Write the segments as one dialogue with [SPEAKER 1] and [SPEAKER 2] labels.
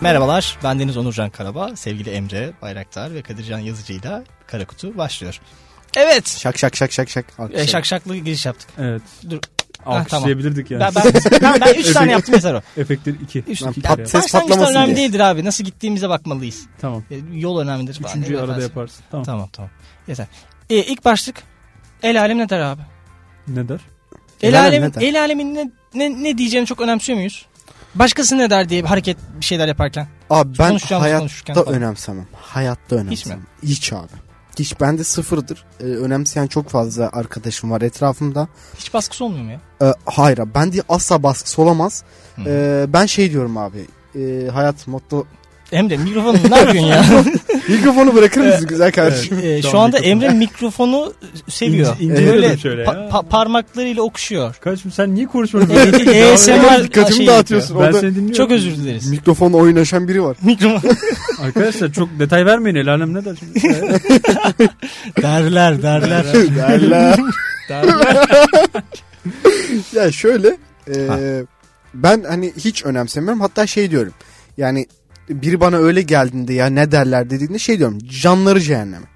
[SPEAKER 1] Merhabalar, ben Deniz Onurcan Karaba, sevgili Emre Bayraktar ve Kadircan Yazıcı'yla Kara Kutu başlıyor. Evet,
[SPEAKER 2] Şak şak şak şak şak. Şey.
[SPEAKER 1] e, şak şaklı giriş yaptık.
[SPEAKER 3] Evet.
[SPEAKER 1] Dur. Ah,
[SPEAKER 3] Alkışlayabilirdik yani.
[SPEAKER 1] Ben, ben, ben, ben üç tane yaptım yeter o.
[SPEAKER 3] Efektler 2.
[SPEAKER 1] Üç,
[SPEAKER 2] Lan
[SPEAKER 1] yani
[SPEAKER 2] pat- ses
[SPEAKER 1] başlangıçta
[SPEAKER 2] patlamasın
[SPEAKER 1] önemli
[SPEAKER 2] diye.
[SPEAKER 1] değildir abi, nasıl gittiğimize bakmalıyız.
[SPEAKER 3] Tamam.
[SPEAKER 1] E, Yol önemlidir. falan.
[SPEAKER 3] Üçüncüyü
[SPEAKER 1] Evet,
[SPEAKER 3] arada
[SPEAKER 1] ben-
[SPEAKER 3] yaparsın. Tamam.
[SPEAKER 1] Tamam tamam, yeter. E, ilk başlık, el alem ne der abi?
[SPEAKER 3] Ne der?
[SPEAKER 1] El,
[SPEAKER 2] El alem
[SPEAKER 1] alem,
[SPEAKER 2] ne der?
[SPEAKER 1] el alemin ne, ne, ne diyeceğini çok önemsiyor muyuz? Başkası ne der diye bir hareket bir şeyler yaparken.
[SPEAKER 2] Abi ben
[SPEAKER 1] Konuşacağımız konuşurken
[SPEAKER 2] hayatta
[SPEAKER 1] falan.
[SPEAKER 2] önemsemem. Hayatta önemsemem.
[SPEAKER 1] mi?
[SPEAKER 2] Hiç, abi. Hiç bende sıfırdır. Ee, önemseyen çok fazla arkadaşım var etrafımda.
[SPEAKER 1] Hiç baskısı olmuyor mu ya?
[SPEAKER 2] Ee, hayır abi, bende asla baskısı olamaz.
[SPEAKER 1] Hı.
[SPEAKER 2] Ee, ben şey diyorum abi. e, hayat motto.
[SPEAKER 1] Emre mikrofonu ne yapıyorsun ya?
[SPEAKER 2] Mikrofonu bırakır mısın güzel kardeşim?
[SPEAKER 1] Ee, şu
[SPEAKER 3] Tamam,
[SPEAKER 1] anda
[SPEAKER 3] mikrofonu.
[SPEAKER 1] Emre mikrofonu seviyor.
[SPEAKER 3] İnce- inceledim
[SPEAKER 1] Böyle
[SPEAKER 3] şöyle
[SPEAKER 1] Ee, pa-
[SPEAKER 3] ya.
[SPEAKER 1] pa- parmaklarıyla okuşuyor.
[SPEAKER 3] Kardeşim sen niye konuşmanı
[SPEAKER 1] E-
[SPEAKER 3] böyle-
[SPEAKER 1] e- ASMR
[SPEAKER 2] Dikkatimi
[SPEAKER 1] şey
[SPEAKER 2] dağıtıyorsun.
[SPEAKER 3] Ben
[SPEAKER 2] Orada
[SPEAKER 3] seni dinliyorum.
[SPEAKER 1] Çok özür dileriz.
[SPEAKER 2] mikrofonla oynaşan biri var.
[SPEAKER 1] Mikrofon.
[SPEAKER 3] Arkadaşlar çok detay vermeyin. El alem ne der şimdi?
[SPEAKER 1] derler derler.
[SPEAKER 2] Derler.
[SPEAKER 1] derler.
[SPEAKER 2] Ya şöyle e,
[SPEAKER 1] Ha.
[SPEAKER 2] ben hani hiç önemsemiyorum hatta şey diyorum yani biri bana öyle geldiğinde ya ne derler dediğinde şey diyorum canları cehenneme.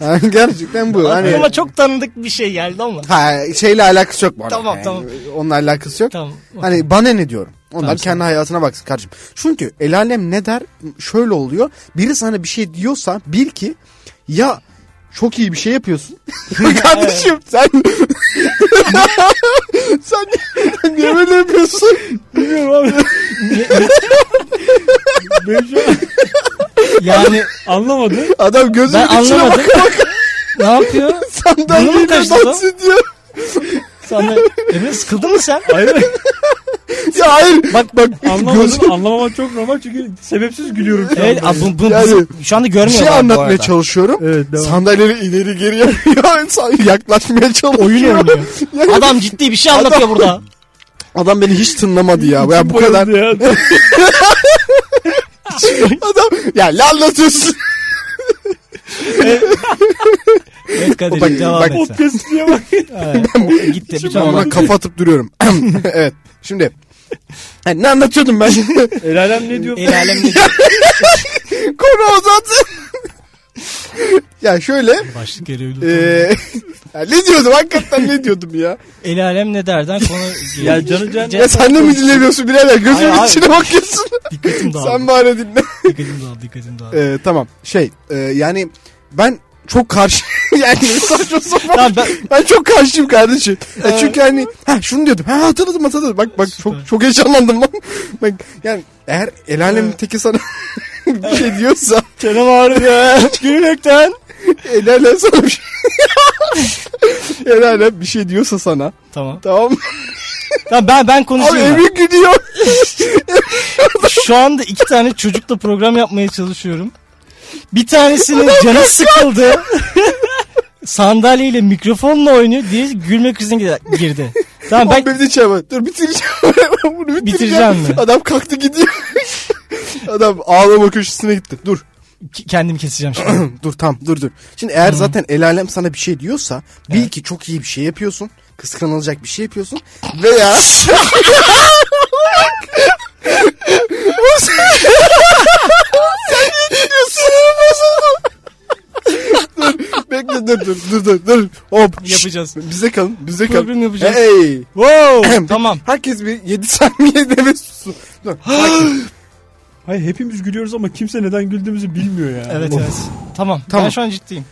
[SPEAKER 2] yani gerçekten bu. hani,
[SPEAKER 1] Aklıma çok tanıdık bir şey geldi ama.
[SPEAKER 2] ha, şeyle alakası yok bu arada.
[SPEAKER 1] Tamam,
[SPEAKER 2] Yani
[SPEAKER 1] tamam.
[SPEAKER 2] Onunla alakası yok.
[SPEAKER 1] Tamam. okey.
[SPEAKER 2] Hani bana ne diyorum? Onlar
[SPEAKER 1] Tamam,
[SPEAKER 2] kendi
[SPEAKER 1] tamam.
[SPEAKER 2] hayatına baksın kardeşim. Çünkü el alem ne der? Şöyle oluyor. Biri sana bir şey diyorsa bil ki ya çok iyi bir şey yapıyorsun. kardeşim sen sen sen niye böyle yapıyorsun?
[SPEAKER 3] Bilmiyorum abi. ben şu an
[SPEAKER 1] yani
[SPEAKER 3] anlamadım.
[SPEAKER 2] Adam gözümün
[SPEAKER 1] ben
[SPEAKER 2] içine
[SPEAKER 1] anlamadım.
[SPEAKER 2] bak
[SPEAKER 1] ne yapıyor? Burnum
[SPEAKER 2] sandalyeyle
[SPEAKER 1] kaçtı lan.
[SPEAKER 2] dans ediyor.
[SPEAKER 1] Sana Emre sıkıldın mı sen?
[SPEAKER 3] Hayır.
[SPEAKER 2] Ya hayır. Bak bak.
[SPEAKER 3] Anlamadım. Anlamamak çok normal çünkü sebepsiz gülüyorum şu an.
[SPEAKER 1] Evet, abi, bu, bu,
[SPEAKER 2] Yani-
[SPEAKER 1] şu anda
[SPEAKER 2] bir
[SPEAKER 1] görmüyorlar
[SPEAKER 2] şey
[SPEAKER 1] bu
[SPEAKER 2] anlatmaya
[SPEAKER 1] arada.
[SPEAKER 2] çalışıyorum.
[SPEAKER 3] Evet devam.
[SPEAKER 2] Sandalyeleri ileri geri yapıyor. İnsan Yaklaşmaya çalışıyor.
[SPEAKER 1] Oyun oynuyor. Adam ciddi bir şey anlatıyor burada.
[SPEAKER 2] Adam beni hiç tınlamadı ya. Ya bu kadar.
[SPEAKER 3] Bayıldı ya.
[SPEAKER 2] Adam ya ne anlatıyorsun?
[SPEAKER 1] Evet Kadir
[SPEAKER 2] Bak-
[SPEAKER 1] devam
[SPEAKER 2] bak-
[SPEAKER 1] et sen.
[SPEAKER 3] Podcast diye bak.
[SPEAKER 1] Evet, gitti. Bir
[SPEAKER 2] Tamam
[SPEAKER 1] tane-
[SPEAKER 2] ben kapatıp duruyorum. evet. Şimdi yani ne anlatıyordum ben?
[SPEAKER 3] El alem ne diyor?
[SPEAKER 1] El alem ne
[SPEAKER 2] Konu uzadı. ya şöyle
[SPEAKER 1] Başlık
[SPEAKER 2] e, ya ne diyordum hakikaten ne diyordum ya?
[SPEAKER 1] El alem ne derden konu...
[SPEAKER 3] Ya canı can-
[SPEAKER 2] Ee- Ya sen de mi dinlemiyorsun birader? Gözümün
[SPEAKER 1] Hayır,
[SPEAKER 2] içine bakıyorsun.
[SPEAKER 1] Dikkatim dağıldı.
[SPEAKER 2] sen bari dinle.
[SPEAKER 1] Dikkatim dağıldı. Dikkatim dağıldı.
[SPEAKER 2] E, tamam şey e, yani ben çok karşı yani saçma sapan.
[SPEAKER 1] Tamam ben...
[SPEAKER 2] Ben çok karşıyım kardeşim. Ya çünkü hani ha şunu diyordum. Ha hatırladım hatırladım. Bak bak çok çok heyecanlandım lan. Bak yani eğer el alemin teki sana bir şey diyorsa
[SPEAKER 1] Canım ağrıdı. Gülmekten.
[SPEAKER 2] el alem sana bir şey El alem bir şey diyorsa sana
[SPEAKER 1] Tamam.
[SPEAKER 2] tamam mı?
[SPEAKER 1] Tamam ben ben
[SPEAKER 2] Abi
[SPEAKER 1] konuşayım.
[SPEAKER 2] evi gidiyor.
[SPEAKER 1] ben. Şu anda iki tane çocukla program yapmaya çalışıyorum. Bir tanesinin canı sıkıldı. Sandalyeyle mikrofonla oynuyor diye gülme krizine gir- girdi. Tamam
[SPEAKER 2] Ben...
[SPEAKER 1] ben
[SPEAKER 2] Benim de içeri bak. Dur bitireceğim. Bunu bitireceğim.
[SPEAKER 1] Bitireceğim mi?
[SPEAKER 2] Adam kalktı gidiyor. Adam ağlama köşesine gitti. Dur
[SPEAKER 1] ki- kendimi keseceğim şimdi.
[SPEAKER 2] dur tam dur dur. Şimdi eğer zaten el alem sana bir şey diyorsa bil ki çok iyi bir şey yapıyorsun. Kıskanılacak bir şey yapıyorsun. Veya Bu sen- Sen niye gidiyorsun? dur bekle dur dur dur dur dur. Hop. şşt,
[SPEAKER 1] Yapacağız. şey
[SPEAKER 2] Bize kalın bize kalın.
[SPEAKER 1] Program yapacağız.
[SPEAKER 2] Hey.
[SPEAKER 1] Wow. tamam.
[SPEAKER 2] Herkes bir 7 saniye deve susun. Dur.
[SPEAKER 3] Hayır hepimiz gülüyoruz ama kimse neden güldüğümüzü bilmiyor ya.
[SPEAKER 1] Evet
[SPEAKER 3] Of.
[SPEAKER 1] evet. Tamam. Ben
[SPEAKER 2] Tamam.
[SPEAKER 1] şu an ciddiyim.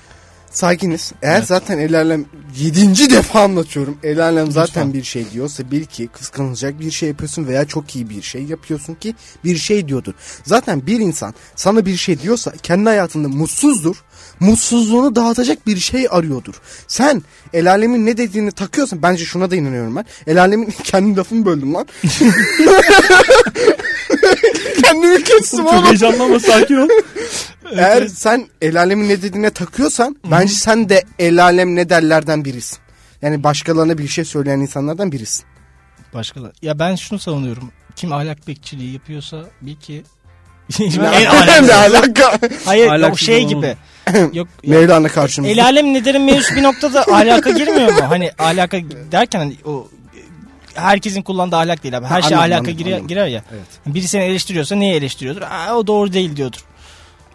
[SPEAKER 2] Sakiniz. Eğer zaten el alem 7. defa anlatıyorum. El alem zaten bir şey diyorsa bil ki kıskanılacak bir şey yapıyorsun veya çok iyi bir şey yapıyorsun ki bir şey diyordur. Zaten bir insan sana bir şey diyorsa kendi hayatında mutsuzdur. Mutsuzluğunu dağıtacak bir şey arıyordur. Sen el alemin ne dediğini takıyorsan bence şuna da inanıyorum ben. El alemin kendi lafımı böldüm lan. Kendimi kestim
[SPEAKER 3] Çok
[SPEAKER 2] oğlum.
[SPEAKER 3] heyecanlanma sakin ol.
[SPEAKER 2] Eğer sen el alemin ne dediğine takıyorsan bence sen de el alem ne derlerden birisin. Yani başkalarına bir şey söyleyen insanlardan birisin.
[SPEAKER 1] Başkalar. Ya ben şunu savunuyorum. Kim ahlak bekçiliği yapıyorsa bil ki El alem.
[SPEAKER 2] ne alaka?
[SPEAKER 1] Hayır o
[SPEAKER 3] Ahlaksız
[SPEAKER 1] şey
[SPEAKER 3] olan
[SPEAKER 1] gibi. Yok ya,
[SPEAKER 2] Mevlana karşımızda.
[SPEAKER 1] el alem ne derim mevzusu bir noktada ahlaka girmiyor mu? Hani ahlaka derken hani o herkesin kullandığı ahlak değil abi. Her şey
[SPEAKER 2] Anladım,
[SPEAKER 1] ahlaka
[SPEAKER 2] anladım,
[SPEAKER 1] girer,
[SPEAKER 2] anladım.
[SPEAKER 1] girer ya. Hani
[SPEAKER 2] Evet.
[SPEAKER 1] Biri seni eleştiriyorsa niye eleştiriyordur? Aa, o doğru değil diyordur.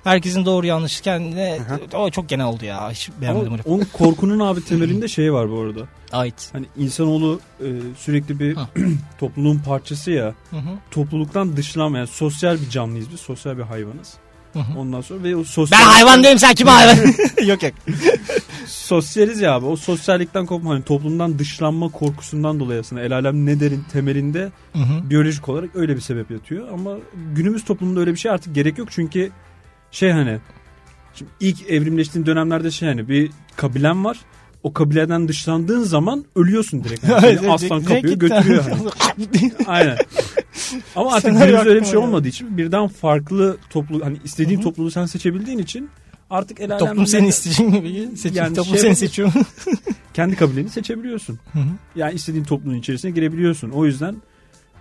[SPEAKER 1] Herkesin doğru yanlışı kendine o çok genel oldu ya. Hiç beğenmedim
[SPEAKER 3] Ama
[SPEAKER 1] öyle.
[SPEAKER 3] onun korkunun abi temelinde şey var bu arada.
[SPEAKER 1] Ait.
[SPEAKER 3] Hani insanoğlu e, sürekli bir
[SPEAKER 1] Ha.
[SPEAKER 3] topluluğun parçası ya.
[SPEAKER 1] Hı hı,
[SPEAKER 3] Topluluktan dışlanmayan sosyal bir canlıyız biz. Sosyal bir hayvanız.
[SPEAKER 1] hı hı.
[SPEAKER 3] Ondan sonra ve o sosyal...
[SPEAKER 1] Ben hayvan değilim sen kim hayvan? yok yok.
[SPEAKER 3] Sosyaliz ya abi. O sosyallikten kopma hani toplumdan dışlanma korkusundan dolayı aslında el alem ne derin temelinde
[SPEAKER 1] Hı hı.
[SPEAKER 3] biyolojik olarak öyle bir sebep yatıyor. Ama günümüz toplumunda öyle bir şey artık gerek yok çünkü şey hani şimdi ilk evrimleştiğin dönemlerde şey hani bir kabilen var. O kabileden dışlandığın zaman ölüyorsun direkt. Yani seni aslan kapıyor götürüyor. hani. Aynen. Ama artık
[SPEAKER 1] Senaryo
[SPEAKER 3] günümüzde öyle bir
[SPEAKER 1] aklıma
[SPEAKER 3] şey
[SPEAKER 1] geldi.
[SPEAKER 3] olmadı için birden farklı toplu hani istediğin
[SPEAKER 1] Hı hı.
[SPEAKER 3] topluluğu sen seçebildiğin için artık el alem
[SPEAKER 1] toplum
[SPEAKER 3] ne-
[SPEAKER 1] seni isteyeceğin gibi. Seçim,
[SPEAKER 3] Yani
[SPEAKER 1] toplum
[SPEAKER 3] şey-
[SPEAKER 1] seni seçiyor.
[SPEAKER 3] kendi kabileni seçebiliyorsun.
[SPEAKER 1] Hı hı.
[SPEAKER 3] Yani istediğin toplumun içerisine girebiliyorsun. O yüzden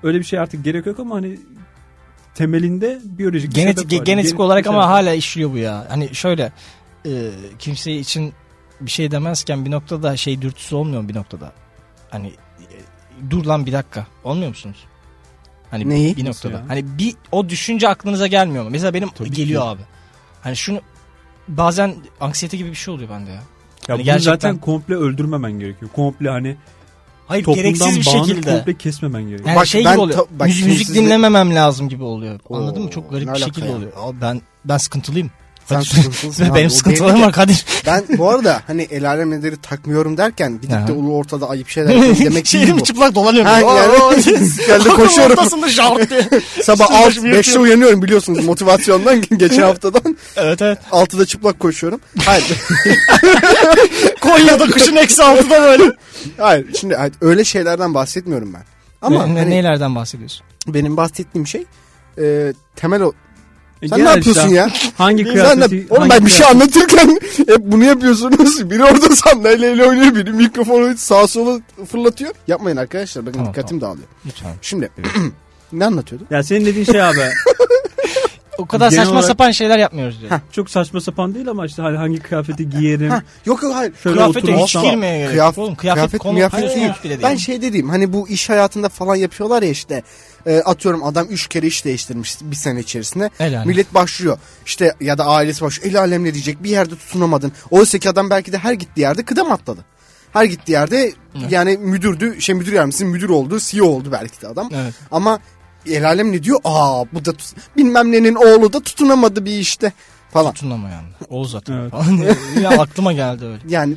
[SPEAKER 3] öyle bir şey artık gerek yok ama hani temelinde biyolojik bir
[SPEAKER 1] genetik
[SPEAKER 3] sebep var.
[SPEAKER 1] genetik
[SPEAKER 3] Şey Genetik şey
[SPEAKER 1] olarak
[SPEAKER 3] bir
[SPEAKER 1] ama
[SPEAKER 3] sebep var.
[SPEAKER 1] hala işliyor bu ya. Hani şöyle e, kimse için bir şey demezken bir noktada şey dürtüsü olmuyor mu bir noktada. Hani e, dur lan bir dakika. Olmuyor musunuz? Hani bir-
[SPEAKER 2] Neyi?
[SPEAKER 1] bir
[SPEAKER 3] Nasıl
[SPEAKER 1] noktada.
[SPEAKER 3] ya?
[SPEAKER 1] Hani bir o düşünce aklınıza gelmiyor mu? Mesela benim
[SPEAKER 3] Tabii
[SPEAKER 1] geliyor
[SPEAKER 3] ki.
[SPEAKER 1] abi. Hani şunu bazen anksiyete gibi bir şey oluyor bende ya.
[SPEAKER 3] Ya
[SPEAKER 1] Hani
[SPEAKER 3] bunu
[SPEAKER 1] gerçekten-
[SPEAKER 3] zaten komple öldürmemen gerekiyor. Komple hani
[SPEAKER 1] Hayır
[SPEAKER 3] toplumdan
[SPEAKER 1] gereksiz bir
[SPEAKER 3] bağını
[SPEAKER 1] şekilde.
[SPEAKER 3] komple kesmemen gerekiyor.
[SPEAKER 1] Yani
[SPEAKER 2] Bak
[SPEAKER 1] şey
[SPEAKER 2] ben
[SPEAKER 1] gibi oluyor.
[SPEAKER 2] ta- bak
[SPEAKER 1] müzik,
[SPEAKER 2] şimdi
[SPEAKER 1] müzik
[SPEAKER 2] sizde-
[SPEAKER 1] dinlememem lazım gibi oluyor. Anladın mı?
[SPEAKER 2] Oo,
[SPEAKER 1] Çok garip
[SPEAKER 2] ne
[SPEAKER 1] bir
[SPEAKER 2] alaka
[SPEAKER 1] şekilde
[SPEAKER 2] ya?
[SPEAKER 1] oluyor. Abi ben ben sıkıntılıyım.
[SPEAKER 2] Sen
[SPEAKER 1] Hadi-
[SPEAKER 2] sıkıntılısın abi, o
[SPEAKER 1] Benim sıkıntılarım
[SPEAKER 2] belli.
[SPEAKER 1] var Kadir.
[SPEAKER 2] Ben bu arada hani el alem neleri takmıyorum derken gidip
[SPEAKER 1] Aha. Şey
[SPEAKER 2] de ulu ortada ayıp şeyler yapıyorum demek değil
[SPEAKER 1] Şehrim
[SPEAKER 2] bu.
[SPEAKER 1] çıplak dolanıyorum.
[SPEAKER 2] Ha, yani geldi koşuyorum.
[SPEAKER 1] Ortasında şey şart diye.
[SPEAKER 2] Sabah
[SPEAKER 1] Üstüm
[SPEAKER 2] alt
[SPEAKER 1] başımı
[SPEAKER 2] 5'te
[SPEAKER 1] yırtıyorum.
[SPEAKER 2] uyanıyorum biliyorsunuz motivasyondan geçen haftadan.
[SPEAKER 1] evet evet.
[SPEAKER 2] 6'da çıplak koşuyorum. Hayır.
[SPEAKER 1] Konya'da kışın eksi altıda böyle.
[SPEAKER 2] hayır. Şimdi hayır, öyle şeylerden bahsetmiyorum ben. Ama
[SPEAKER 1] Ama ne,
[SPEAKER 2] hani
[SPEAKER 1] nelerden bahsediyorsun?
[SPEAKER 2] benim bahsettiğim şey e, temel o.
[SPEAKER 3] E
[SPEAKER 2] Sen
[SPEAKER 3] gel
[SPEAKER 2] ne yapıyorsun
[SPEAKER 3] işte,
[SPEAKER 2] ya?
[SPEAKER 3] Hangi
[SPEAKER 2] Sen
[SPEAKER 3] kıyafeti?
[SPEAKER 2] de, oğlum
[SPEAKER 3] hangi
[SPEAKER 2] ben bir şey
[SPEAKER 3] kıyafeti-
[SPEAKER 2] anlatırken hep bunu yapıyorsunuz. Biri orada sandalyeyle oynuyor, biri mikrofonu sağa sola fırlatıyor. Yapmayın arkadaşlar. Bakın
[SPEAKER 1] Tamam,
[SPEAKER 2] dikkatim dağılıyor.
[SPEAKER 1] Lütfen.
[SPEAKER 2] Şimdi ne anlatıyordum?
[SPEAKER 3] Ya senin dediğin şey abi
[SPEAKER 1] O kadar
[SPEAKER 3] Genel
[SPEAKER 1] saçma
[SPEAKER 3] olarak-
[SPEAKER 1] sapan şeyler yapmıyoruz diyor.
[SPEAKER 3] çok saçma sapan değil ama işte hani hangi kıyafeti giyerim.
[SPEAKER 2] Ha, yok yok hayır.
[SPEAKER 3] Şöyle
[SPEAKER 1] Kıyafete hiç
[SPEAKER 3] oturursam.
[SPEAKER 1] girmeye gerek yok. Oğlum kıyafet, konu
[SPEAKER 2] miyafet
[SPEAKER 1] hayır,
[SPEAKER 2] değil.
[SPEAKER 1] hayır, bile değil.
[SPEAKER 2] Ben şey dediğim hani bu iş hayatında falan yapıyorlar ya işte e, atıyorum adam 3 kere iş değiştirmiş bir sene içerisinde.
[SPEAKER 1] El alem.
[SPEAKER 2] Millet başlıyor işte ya da ailesi başlıyor el alem ne diyecek bir yerde tutunamadın. Oysa ki adam belki de her gittiği yerde kıdem atladı. Her gittiği yerde yani müdürdü şey müdür yardımcısı müdür oldu CEO oldu belki de adam.
[SPEAKER 1] Evet.
[SPEAKER 2] Ama el alem ne diyor aa bu da tut- bilmem nenin oğlu da tutunamadı bir işte falan.
[SPEAKER 1] Tutunama yani. Oğuz atma
[SPEAKER 3] Evet.
[SPEAKER 1] falan. ya aklıma geldi öyle.
[SPEAKER 2] Yani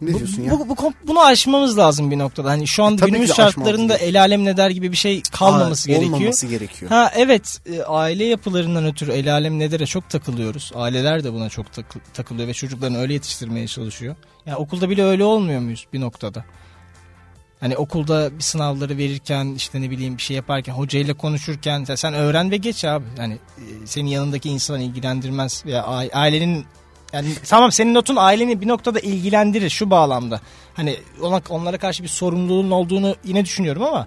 [SPEAKER 2] ne
[SPEAKER 1] Bu,
[SPEAKER 2] diyorsun ya? E,
[SPEAKER 1] bu, bu kom- bunu aşmamız lazım bir noktada. Hani şu anda
[SPEAKER 2] tabii ki
[SPEAKER 1] günümüz
[SPEAKER 2] de aşmamız
[SPEAKER 1] şartlarında
[SPEAKER 2] gerekiyor.
[SPEAKER 1] el alem ne der gibi bir şey kalmaması
[SPEAKER 2] Aa,
[SPEAKER 1] gerekiyor.
[SPEAKER 2] Olmaması gerekiyor.
[SPEAKER 1] Ha evet e, aile yapılarından ötürü el alem nedere çok takılıyoruz. Aileler de buna çok takı- takılıyor ve çocuklarını öyle yetiştirmeye çalışıyor. Yani okulda bile öyle olmuyor muyuz bir noktada? Hani okulda bir sınavları verirken işte ne bileyim bir şey yaparken hocayla konuşurken sen- sen öğren ve geç abi. Yani e, senin yanındaki insan ilgilendirmez veya a- ailenin yani tamam senin notun aileni bir noktada ilgilendirir şu bağlamda. Hani ona- onlara karşı bir sorumluluğun olduğunu yine düşünüyorum ama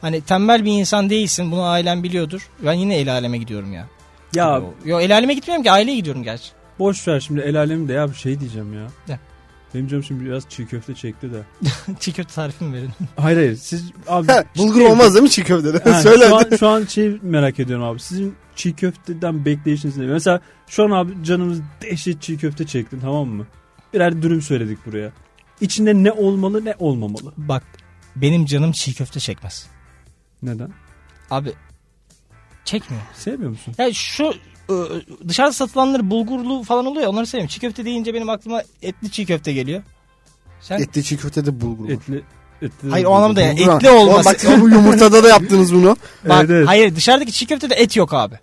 [SPEAKER 1] Hani tembel bir insan değilsin bunu ailen biliyordur. Ben yine el aleme gidiyorum ya.
[SPEAKER 3] Ya
[SPEAKER 1] Yo el aleme gitmiyorum ki aileye gidiyorum gerçi.
[SPEAKER 3] boş ver şimdi el alemi de ya bir şey diyeceğim ya.
[SPEAKER 1] Ne?
[SPEAKER 3] Benim canım şimdi biraz çiğ köfte çekti de.
[SPEAKER 1] Çiğ köfte tarifimi verin.
[SPEAKER 3] Hayır hayır siz abi
[SPEAKER 2] Ha, bulgur olmaz değil mi çiğ köftede?
[SPEAKER 3] Yani
[SPEAKER 2] Söyle.
[SPEAKER 3] Şu an, şu an şey merak ediyorum abi. Sizin çiğ köfteden bekleyişiniz ne? Mesela şu an abi canımız dehşet çiğ köfte çekti tamam mı? Birer dürüm söyledik buraya. İçinde ne olmalı ne olmamalı.
[SPEAKER 1] Bak benim canım çiğ köfte çekmez.
[SPEAKER 3] Neden?
[SPEAKER 1] Abi çekmiyor.
[SPEAKER 3] Sevmiyor musun?
[SPEAKER 1] Ya şu ıı, dışarıda satılanları bulgurlu falan oluyor ya, onları sevmiyorum. Çiğ köfte deyince benim aklıma etli çiğ köfte geliyor. Sen
[SPEAKER 2] Etli çiğ köftede bulgur var.
[SPEAKER 3] Etli, etli
[SPEAKER 1] Hayır, o anlamda yani.
[SPEAKER 2] Bulgur var.
[SPEAKER 1] etli olması-
[SPEAKER 2] Bak siz bu yumurtada da yaptınız bunu.
[SPEAKER 1] bak
[SPEAKER 3] Evet, evet.
[SPEAKER 1] hayır dışarıdaki çiğ köftede et yok abi.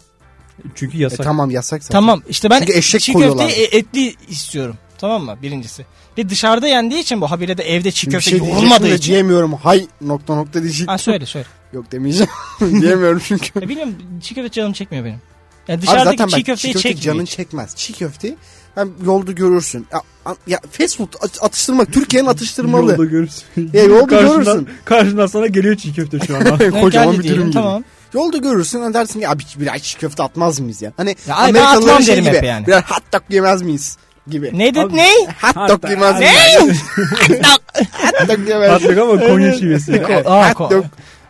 [SPEAKER 3] Çünkü
[SPEAKER 2] E,
[SPEAKER 3] yasak.
[SPEAKER 2] tamam yasak zaten.
[SPEAKER 1] Tamam işte ben
[SPEAKER 2] Çünkü eşek
[SPEAKER 1] çiğ
[SPEAKER 2] koyuyorlar.
[SPEAKER 1] köfteyi e- etli istiyorum. Tamam mı? Birincisi. Ve dışarıda yendiği için bu habire de evde çiğ
[SPEAKER 2] Şimdi bir
[SPEAKER 1] köfte
[SPEAKER 2] şey diyecektim
[SPEAKER 1] yorulmadığı
[SPEAKER 2] de
[SPEAKER 1] için.
[SPEAKER 2] diyemiyorum. Hay nokta nokta diyecektim.
[SPEAKER 1] Ha söyle söyle.
[SPEAKER 2] Yok demeyeceğim. diyemiyorum çünkü.
[SPEAKER 1] Ya bilmiyorum çiğ köfte canım çekmiyor benim. Ya
[SPEAKER 2] Abi
[SPEAKER 1] dışarıdaki
[SPEAKER 2] zaten
[SPEAKER 1] çiğ
[SPEAKER 2] bak
[SPEAKER 1] köfteyi
[SPEAKER 2] çiğ köfte
[SPEAKER 1] çekmiyor.
[SPEAKER 2] canın çekmez. Çiğ köfteyi hem yolda görürsün. Ya, a- ya fast food at- atıştırmak Türkiye'nin atıştırmalı.
[SPEAKER 3] Yolda görürsün.
[SPEAKER 2] Ya, yolda
[SPEAKER 3] Karşından-
[SPEAKER 2] E, görürsün.
[SPEAKER 3] Karşından sana geliyor çiğ köfte şu an.
[SPEAKER 1] Yani
[SPEAKER 2] Kocaman
[SPEAKER 1] geldi
[SPEAKER 2] bir
[SPEAKER 1] diyelim,
[SPEAKER 2] dürüm gibi.
[SPEAKER 1] Tamam.
[SPEAKER 2] Yolda görürsün hani dersin ya bir, bir ay çiğ köfte atmaz mıyız ya? Hani
[SPEAKER 1] Ya ay ben
[SPEAKER 2] Amerikalıların
[SPEAKER 1] atmam
[SPEAKER 2] şey
[SPEAKER 1] derim
[SPEAKER 2] gibi
[SPEAKER 1] hep yani.
[SPEAKER 2] birer hot dog yemez miyiz? gibi.
[SPEAKER 1] Ne dedi
[SPEAKER 3] Abi-
[SPEAKER 1] ne?
[SPEAKER 2] Hot dog
[SPEAKER 3] Hatta-
[SPEAKER 2] yemez.
[SPEAKER 1] Ne?
[SPEAKER 2] Hot dog yemez.
[SPEAKER 3] Patlık ama Konya şivesi.
[SPEAKER 2] Evet,
[SPEAKER 1] Aa,
[SPEAKER 2] hot
[SPEAKER 1] ko-
[SPEAKER 2] dog.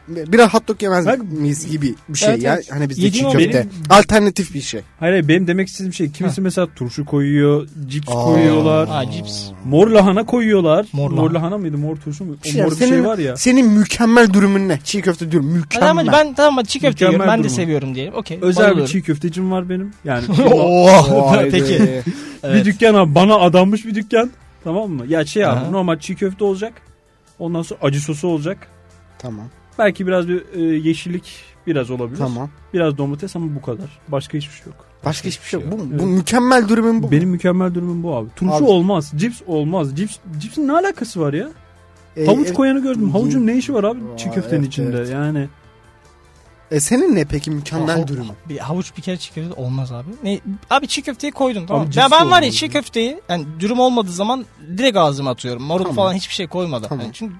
[SPEAKER 2] Biraz hot dog yemez
[SPEAKER 3] Bak-
[SPEAKER 2] miyiz gibi bir şey
[SPEAKER 1] Evet,
[SPEAKER 2] ya.
[SPEAKER 1] evet.
[SPEAKER 2] Hani bizde
[SPEAKER 1] Yediğim
[SPEAKER 2] çiğ
[SPEAKER 1] o
[SPEAKER 2] köfte.
[SPEAKER 3] benim-
[SPEAKER 2] Alternatif bir şey.
[SPEAKER 3] Hayır hayır, benim demek istediğim şey kimisi mesela turşu koyuyor, cips
[SPEAKER 2] Aa.
[SPEAKER 3] koyuyorlar.
[SPEAKER 1] Aa, cips.
[SPEAKER 3] Mor lahana koyuyorlar.
[SPEAKER 1] Mor
[SPEAKER 3] Mor,
[SPEAKER 1] lahana.
[SPEAKER 3] lahana mıydı? Mor turşu mu? O
[SPEAKER 2] ya,
[SPEAKER 3] mor bir şey var ya.
[SPEAKER 2] Senin mükemmel dürümün ne? Çiğ köfte diyorum.
[SPEAKER 1] Ha, Tamam
[SPEAKER 2] Mükemmel.
[SPEAKER 1] hadi ben tamam hadi çiğ köfte
[SPEAKER 3] Mükemmel
[SPEAKER 1] yiyorum. Ben de
[SPEAKER 3] durumu.
[SPEAKER 1] seviyorum diyelim. Okey.
[SPEAKER 3] Özel bir
[SPEAKER 1] bayılıyorum.
[SPEAKER 3] çiğ köftecim var benim. Yani
[SPEAKER 1] Oo,
[SPEAKER 2] Oh, Vay be.
[SPEAKER 1] Peki. Evet.
[SPEAKER 3] bir dükkan abi bana adanmış bir dükkan. Tamam mı? Ya şey abi
[SPEAKER 1] Aha.
[SPEAKER 3] normal çiğ köfte olacak. Ondan sonra acı sosu olacak.
[SPEAKER 2] Tamam.
[SPEAKER 3] Belki biraz bir e, yeşillik biraz olabilir.
[SPEAKER 2] Tamam.
[SPEAKER 3] Biraz domates ama bu kadar. Başka hiçbir şey yok.
[SPEAKER 2] Başka hiçbir şey yok. Bu, bu
[SPEAKER 3] Evet.
[SPEAKER 2] mükemmel dürümün bu.
[SPEAKER 3] Benim mükemmel durumum bu abi. Turşu
[SPEAKER 2] Abi.
[SPEAKER 3] olmaz, cips olmaz. Cips cipsin ne alakası var ya?
[SPEAKER 2] Ee,
[SPEAKER 3] Havuç
[SPEAKER 2] e,
[SPEAKER 3] koyanı gördüm. Havucun ne işi var abi
[SPEAKER 2] Aa,
[SPEAKER 3] çiğ köftenin
[SPEAKER 2] evet,
[SPEAKER 3] içinde?
[SPEAKER 2] evet.
[SPEAKER 3] Yani
[SPEAKER 2] e, senin ne peki mükemmel
[SPEAKER 1] Hav-
[SPEAKER 2] dürümün?
[SPEAKER 1] Bir havuç bir kere çiğ köfte de olmaz abi. Ne abi çiğ köfteyi koydun tamam.
[SPEAKER 3] Abi cips
[SPEAKER 1] ya
[SPEAKER 3] de
[SPEAKER 1] ben var ya
[SPEAKER 3] olmaz
[SPEAKER 1] çiğ
[SPEAKER 3] ya.
[SPEAKER 1] köfteyi yani dürüm olmadığı zaman direkt ağzıma atıyorum. Marul
[SPEAKER 2] Tamam.
[SPEAKER 1] falan hiçbir şey koymadan.
[SPEAKER 2] Tamam.
[SPEAKER 1] Yani çünkü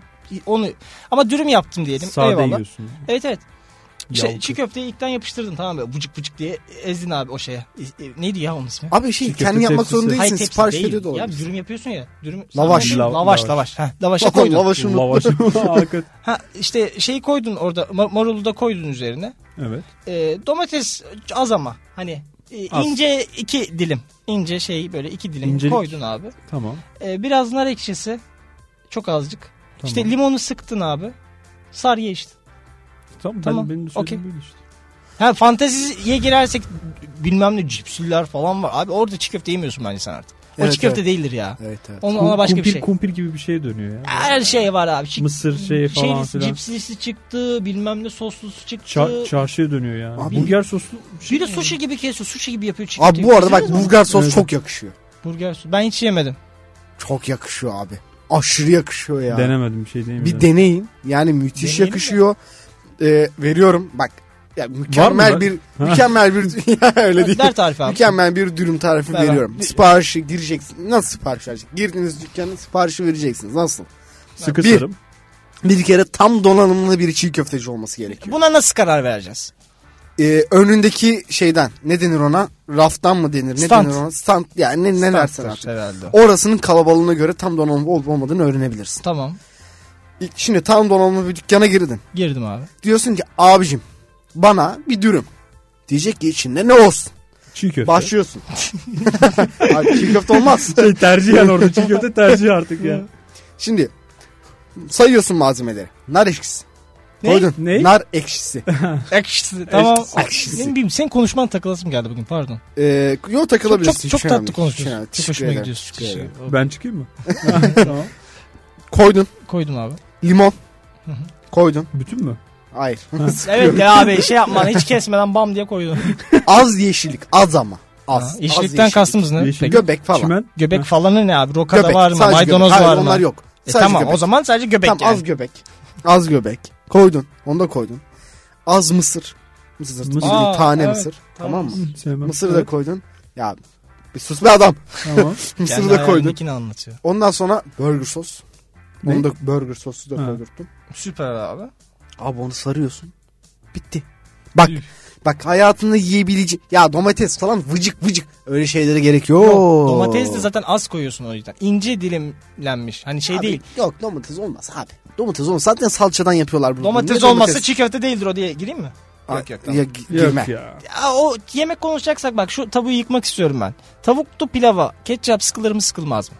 [SPEAKER 1] onu ama dürüm yaptım diyelim.
[SPEAKER 3] sade
[SPEAKER 1] Eyvallah.
[SPEAKER 3] yiyorsun.
[SPEAKER 1] Evet evet. Şey,
[SPEAKER 3] Yalçın.
[SPEAKER 1] çiğ köfteyi ilkten yapıştırdın tamam mı? Vıcık vıcık diye ezdin abi o şeye. E, e, neydi ya onun ismi?
[SPEAKER 2] Abi şey
[SPEAKER 3] Çiğ köfte
[SPEAKER 2] kendin yapmak
[SPEAKER 3] tepsisi.
[SPEAKER 2] zorunda değilsin.
[SPEAKER 1] tepsi
[SPEAKER 2] Sipariş
[SPEAKER 1] değil.
[SPEAKER 2] veriyor da
[SPEAKER 1] Ya
[SPEAKER 2] olabilir.
[SPEAKER 1] dürüm yapıyorsun ya. Dürüm,
[SPEAKER 2] Lavaş.
[SPEAKER 1] Lavaş
[SPEAKER 3] Lav-
[SPEAKER 1] lavaş.
[SPEAKER 3] lavaş.
[SPEAKER 1] lavaş. Ha, lavaşa
[SPEAKER 2] Lavaş-
[SPEAKER 1] koydun.
[SPEAKER 2] Lavaşını
[SPEAKER 3] Lavaş. Hakikaten.
[SPEAKER 1] Ha, işte şeyi koydun orada ma- marulu da koydun üzerine.
[SPEAKER 3] evet.
[SPEAKER 1] Ee, domates az ama hani e,
[SPEAKER 3] Az.
[SPEAKER 1] ince iki dilim. ince şey böyle iki dilim
[SPEAKER 3] İncelik.
[SPEAKER 1] koydun abi.
[SPEAKER 3] Tamam.
[SPEAKER 1] Ee, biraz nar ekşisi çok azıcık.
[SPEAKER 3] Tamam.
[SPEAKER 1] İşte limonu sıktın abi. Sar ye işte.
[SPEAKER 3] Tamam,
[SPEAKER 1] Tamam,
[SPEAKER 3] Ben, benim de
[SPEAKER 1] okey.
[SPEAKER 3] söylediğim böyle işte.
[SPEAKER 1] Ha fanteziye girersek bilmem ne cipsiller falan var. Abi orada çiğ köfte yemiyorsun bence sen artık. O
[SPEAKER 2] Evet,
[SPEAKER 1] çiğ köfte
[SPEAKER 2] evet.
[SPEAKER 1] değildir ya.
[SPEAKER 2] Evet evet.
[SPEAKER 1] Ona, ona başka
[SPEAKER 3] kumpir,
[SPEAKER 1] bir şey.
[SPEAKER 3] Kumpir gibi bir şey dönüyor ya.
[SPEAKER 1] Her şey var abi. Çi-
[SPEAKER 3] Mısır şeyi falan
[SPEAKER 1] şeylisi,
[SPEAKER 3] filan.
[SPEAKER 1] Cipslisi çıktı, bilmem ne soslusu çıktı.
[SPEAKER 3] Ça- çarşıya dönüyor ya.
[SPEAKER 2] Abi-
[SPEAKER 3] Burger soslu.
[SPEAKER 1] bir de sushi gibi kesiyor. Sushi gibi yapıyor çiğ
[SPEAKER 2] Abi
[SPEAKER 1] köfteyi.
[SPEAKER 2] bu arada bak
[SPEAKER 1] Yediniz mi?
[SPEAKER 2] Bulgar sos
[SPEAKER 3] Evet.
[SPEAKER 2] çok yakışıyor.
[SPEAKER 1] Burger su- Ben hiç yemedim.
[SPEAKER 2] Çok yakışıyor abi. Aşırı yakışıyor ya.
[SPEAKER 3] Denemedim bir şey denemedim.
[SPEAKER 2] Bir deneyin. Yani müthiş
[SPEAKER 1] Deneyelim
[SPEAKER 2] yakışıyor. Ee, veriyorum. Bak ya mükemmel
[SPEAKER 3] Var mı?
[SPEAKER 2] bir mükemmel bir ya öyle değil.
[SPEAKER 1] Ver tarifi abi.
[SPEAKER 2] Mükemmel bir dürüm tarifi
[SPEAKER 1] Ver, ver.
[SPEAKER 2] veriyorum. Siparişi gireceksin. Nasıl sipariş vereceksin? Girdiğiniz dükkana siparişi vereceksiniz. Nasıl?
[SPEAKER 3] Sıkı
[SPEAKER 2] Bir-
[SPEAKER 3] sarım.
[SPEAKER 2] Bir kere tam donanımlı bir çiğ köfteci olması gerekiyor.
[SPEAKER 1] Buna nasıl karar vereceğiz?
[SPEAKER 2] Ee, önündeki şeyden ne denir ona? Raftan mı denir? Ne
[SPEAKER 1] Stand.
[SPEAKER 2] denir ona? Stand. Yani ne, ne dersen
[SPEAKER 1] Standtır
[SPEAKER 2] artık.
[SPEAKER 1] herhalde.
[SPEAKER 2] Orasının kalabalığına göre tam donanımlı olup olmadığını öğrenebilirsin.
[SPEAKER 1] Tamam.
[SPEAKER 2] İlk- Şimdi tam donanımlı bir dükkana girdin.
[SPEAKER 1] Girdim abi.
[SPEAKER 2] Diyorsun ki abicim bana bir dürüm. Diyecek ki içinde ne olsun?
[SPEAKER 3] Çiğ köfte.
[SPEAKER 2] Başlıyorsun. Abi çiğ köfte olmaz.
[SPEAKER 3] Şey, tercih yani orada çiğ köfte tercih artık ya.
[SPEAKER 2] Şimdi sayıyorsun malzemeleri. Nar ekşisi.
[SPEAKER 1] Ne?
[SPEAKER 2] Koydun.
[SPEAKER 3] Ne?
[SPEAKER 2] Nar ekşisi.
[SPEAKER 1] Ekşisi. Tamam.
[SPEAKER 2] Ekşisi.
[SPEAKER 1] Ne bileyim senin konuşman takılasım geldi bugün pardon.
[SPEAKER 2] Ee, yo
[SPEAKER 1] Çok,
[SPEAKER 2] takılabilirsin. şey
[SPEAKER 1] çok, çok
[SPEAKER 2] Hiç önemli
[SPEAKER 1] tatlı
[SPEAKER 2] değil. Hiç
[SPEAKER 1] konuşuyorsun.
[SPEAKER 2] önemli değil.
[SPEAKER 1] Çok
[SPEAKER 2] Teşekkür
[SPEAKER 1] hoşuma
[SPEAKER 2] ederim.
[SPEAKER 1] gidiyorsun.
[SPEAKER 2] Teşekkür ederim.
[SPEAKER 3] Ben çıkayım mı? tamam.
[SPEAKER 2] Koydun.
[SPEAKER 1] Koydum abi.
[SPEAKER 2] Limon.
[SPEAKER 1] Hı hı.
[SPEAKER 2] Koydun.
[SPEAKER 3] Bütün mü?
[SPEAKER 2] Hayır.
[SPEAKER 1] Evet ya abi şey yapma hiç kesmeden bam diye koydum.
[SPEAKER 2] az yeşillik. Az ama. Az.
[SPEAKER 1] Ha,
[SPEAKER 2] az
[SPEAKER 1] Yeşillikten
[SPEAKER 2] yeşillik.
[SPEAKER 1] kastımız ne?
[SPEAKER 3] Yeşillik.
[SPEAKER 1] Peki,
[SPEAKER 2] Göbek falan.
[SPEAKER 3] Çimen.
[SPEAKER 1] Göbek
[SPEAKER 3] Ha.
[SPEAKER 1] falanı ne abi? Rokada
[SPEAKER 2] Göbek.
[SPEAKER 1] var mı?
[SPEAKER 2] sadece
[SPEAKER 1] Maydanoz
[SPEAKER 2] göbek.
[SPEAKER 1] var
[SPEAKER 2] Hayır,
[SPEAKER 1] mı?
[SPEAKER 2] onlar yok.
[SPEAKER 1] E
[SPEAKER 2] Sadece
[SPEAKER 1] tamam
[SPEAKER 2] göbek.
[SPEAKER 1] o zaman sadece göbek
[SPEAKER 2] Tam
[SPEAKER 1] yani.
[SPEAKER 2] az göbek. Az göbek. Koydun. Onu da koydun. Az mısır. Mısır. zırtı.
[SPEAKER 3] Mısır.
[SPEAKER 2] Mısır.
[SPEAKER 1] Aa,
[SPEAKER 2] tane
[SPEAKER 1] evet,
[SPEAKER 2] mısır.
[SPEAKER 1] tamam.
[SPEAKER 2] Tamam mı?
[SPEAKER 3] Hı, Sevmem.
[SPEAKER 2] Mısırı da koydun. Ya bir sus be adam.
[SPEAKER 3] Tamam.
[SPEAKER 1] Kendi
[SPEAKER 2] Mısırı da koydun.
[SPEAKER 1] hayalindekini anlatıyor.
[SPEAKER 2] Ondan sonra burger sos.
[SPEAKER 3] Ne?
[SPEAKER 2] Onu da burger sosu da
[SPEAKER 3] Ha.
[SPEAKER 2] koydurttum.
[SPEAKER 1] Süper abi.
[SPEAKER 2] Abi onu sarıyorsun. Bitti. Bak
[SPEAKER 1] Üf.
[SPEAKER 2] bak hayatında yiyebileceğin ya domates falan vıcık vıcık öyle şeylere gerek yok.
[SPEAKER 1] Yok, domates de zaten az koyuyorsun o yüzden. İnce dilimlenmiş. Hani şey
[SPEAKER 2] Abi,
[SPEAKER 1] değil.
[SPEAKER 2] Yok domates olmaz abi. Domates olmaz. Zaten salçadan yapıyorlar bunu.
[SPEAKER 1] Domates,
[SPEAKER 2] Ne
[SPEAKER 1] olması çiğ köfte değildir o diye gireyim mi?
[SPEAKER 2] Aa,
[SPEAKER 1] Yok, yok, tamam.
[SPEAKER 2] Ya, gi- girme.
[SPEAKER 3] Yok ya.
[SPEAKER 1] Ya o yemek konuşacaksak bak şu tabuyu yıkmak istiyorum ben. Tavuklu pilava ketçap sıkılır mı sıkılmaz mı?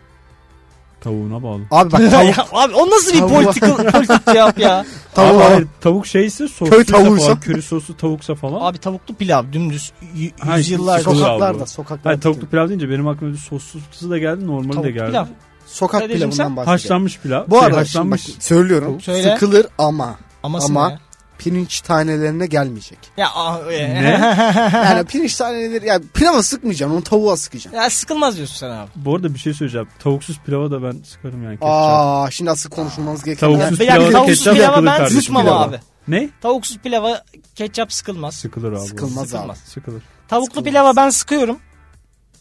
[SPEAKER 3] Tavuğuna bağlı.
[SPEAKER 2] Abi bak tavuk,
[SPEAKER 1] Ya abi o nasıl bir
[SPEAKER 2] Tavuk.
[SPEAKER 1] politik politik cevap ya?
[SPEAKER 2] tavuk
[SPEAKER 3] Abi,
[SPEAKER 2] var.
[SPEAKER 3] hayır, tavuk şeyse sosluysa
[SPEAKER 2] Köy tavuğuysa.
[SPEAKER 3] falan, köri soslu tavuksa falan.
[SPEAKER 1] Abi tavuklu pilav dümdüz y-
[SPEAKER 3] Hayır,
[SPEAKER 1] yüzyıllardır.
[SPEAKER 3] sokak-
[SPEAKER 2] sokaklarda
[SPEAKER 3] Bravo.
[SPEAKER 2] sokaklarda.
[SPEAKER 3] Hayır, tavuklu pilav deyince benim aklıma bir soslusu da geldi, normali
[SPEAKER 1] Tavuklu
[SPEAKER 3] de geldi.
[SPEAKER 1] pilav.
[SPEAKER 2] sokak
[SPEAKER 1] Dedeciğim sen-
[SPEAKER 2] pilavından bahsediyorum.
[SPEAKER 3] Haşlanmış pilav.
[SPEAKER 2] Bu
[SPEAKER 3] Şey,
[SPEAKER 2] arada şimdi bak
[SPEAKER 3] haşlanmış.
[SPEAKER 2] söylüyorum.
[SPEAKER 1] Söyle.
[SPEAKER 2] Sıkılır ama
[SPEAKER 1] Ama,
[SPEAKER 2] Ama-
[SPEAKER 1] ama...
[SPEAKER 2] pirinç tanelerine gelmeyecek.
[SPEAKER 1] Ya, ah, e-
[SPEAKER 3] Ne?
[SPEAKER 2] Yani pirinç taneleri ya pilava sıkmayacaksın onu tavuğa sıkacaksın.
[SPEAKER 1] ya sıkılmaz diyorsun sen abi.
[SPEAKER 3] Bu arada bir şey söyleyeceğim. Tavuksuz pilava da ben sıkarım yani ketçap.
[SPEAKER 2] Aa şimdi asıl konuşulmamız gereken
[SPEAKER 1] Ya,
[SPEAKER 3] Tavuksuz
[SPEAKER 1] bir dakika,
[SPEAKER 3] pilava,
[SPEAKER 1] tavuksuz
[SPEAKER 3] ketçap
[SPEAKER 1] pilava
[SPEAKER 3] yapılır
[SPEAKER 1] ben
[SPEAKER 3] kardeşim,
[SPEAKER 1] sıkmam
[SPEAKER 2] pilava.
[SPEAKER 1] abi.
[SPEAKER 3] Ne?
[SPEAKER 1] Tavuksuz pilava ketçap sıkılmaz.
[SPEAKER 3] Sıkılır abi.
[SPEAKER 2] Sıkılmaz. abi.
[SPEAKER 3] Sıkılır.
[SPEAKER 1] Tavuklu
[SPEAKER 2] Sıkılmaz.
[SPEAKER 1] pilava ben sıkıyorum.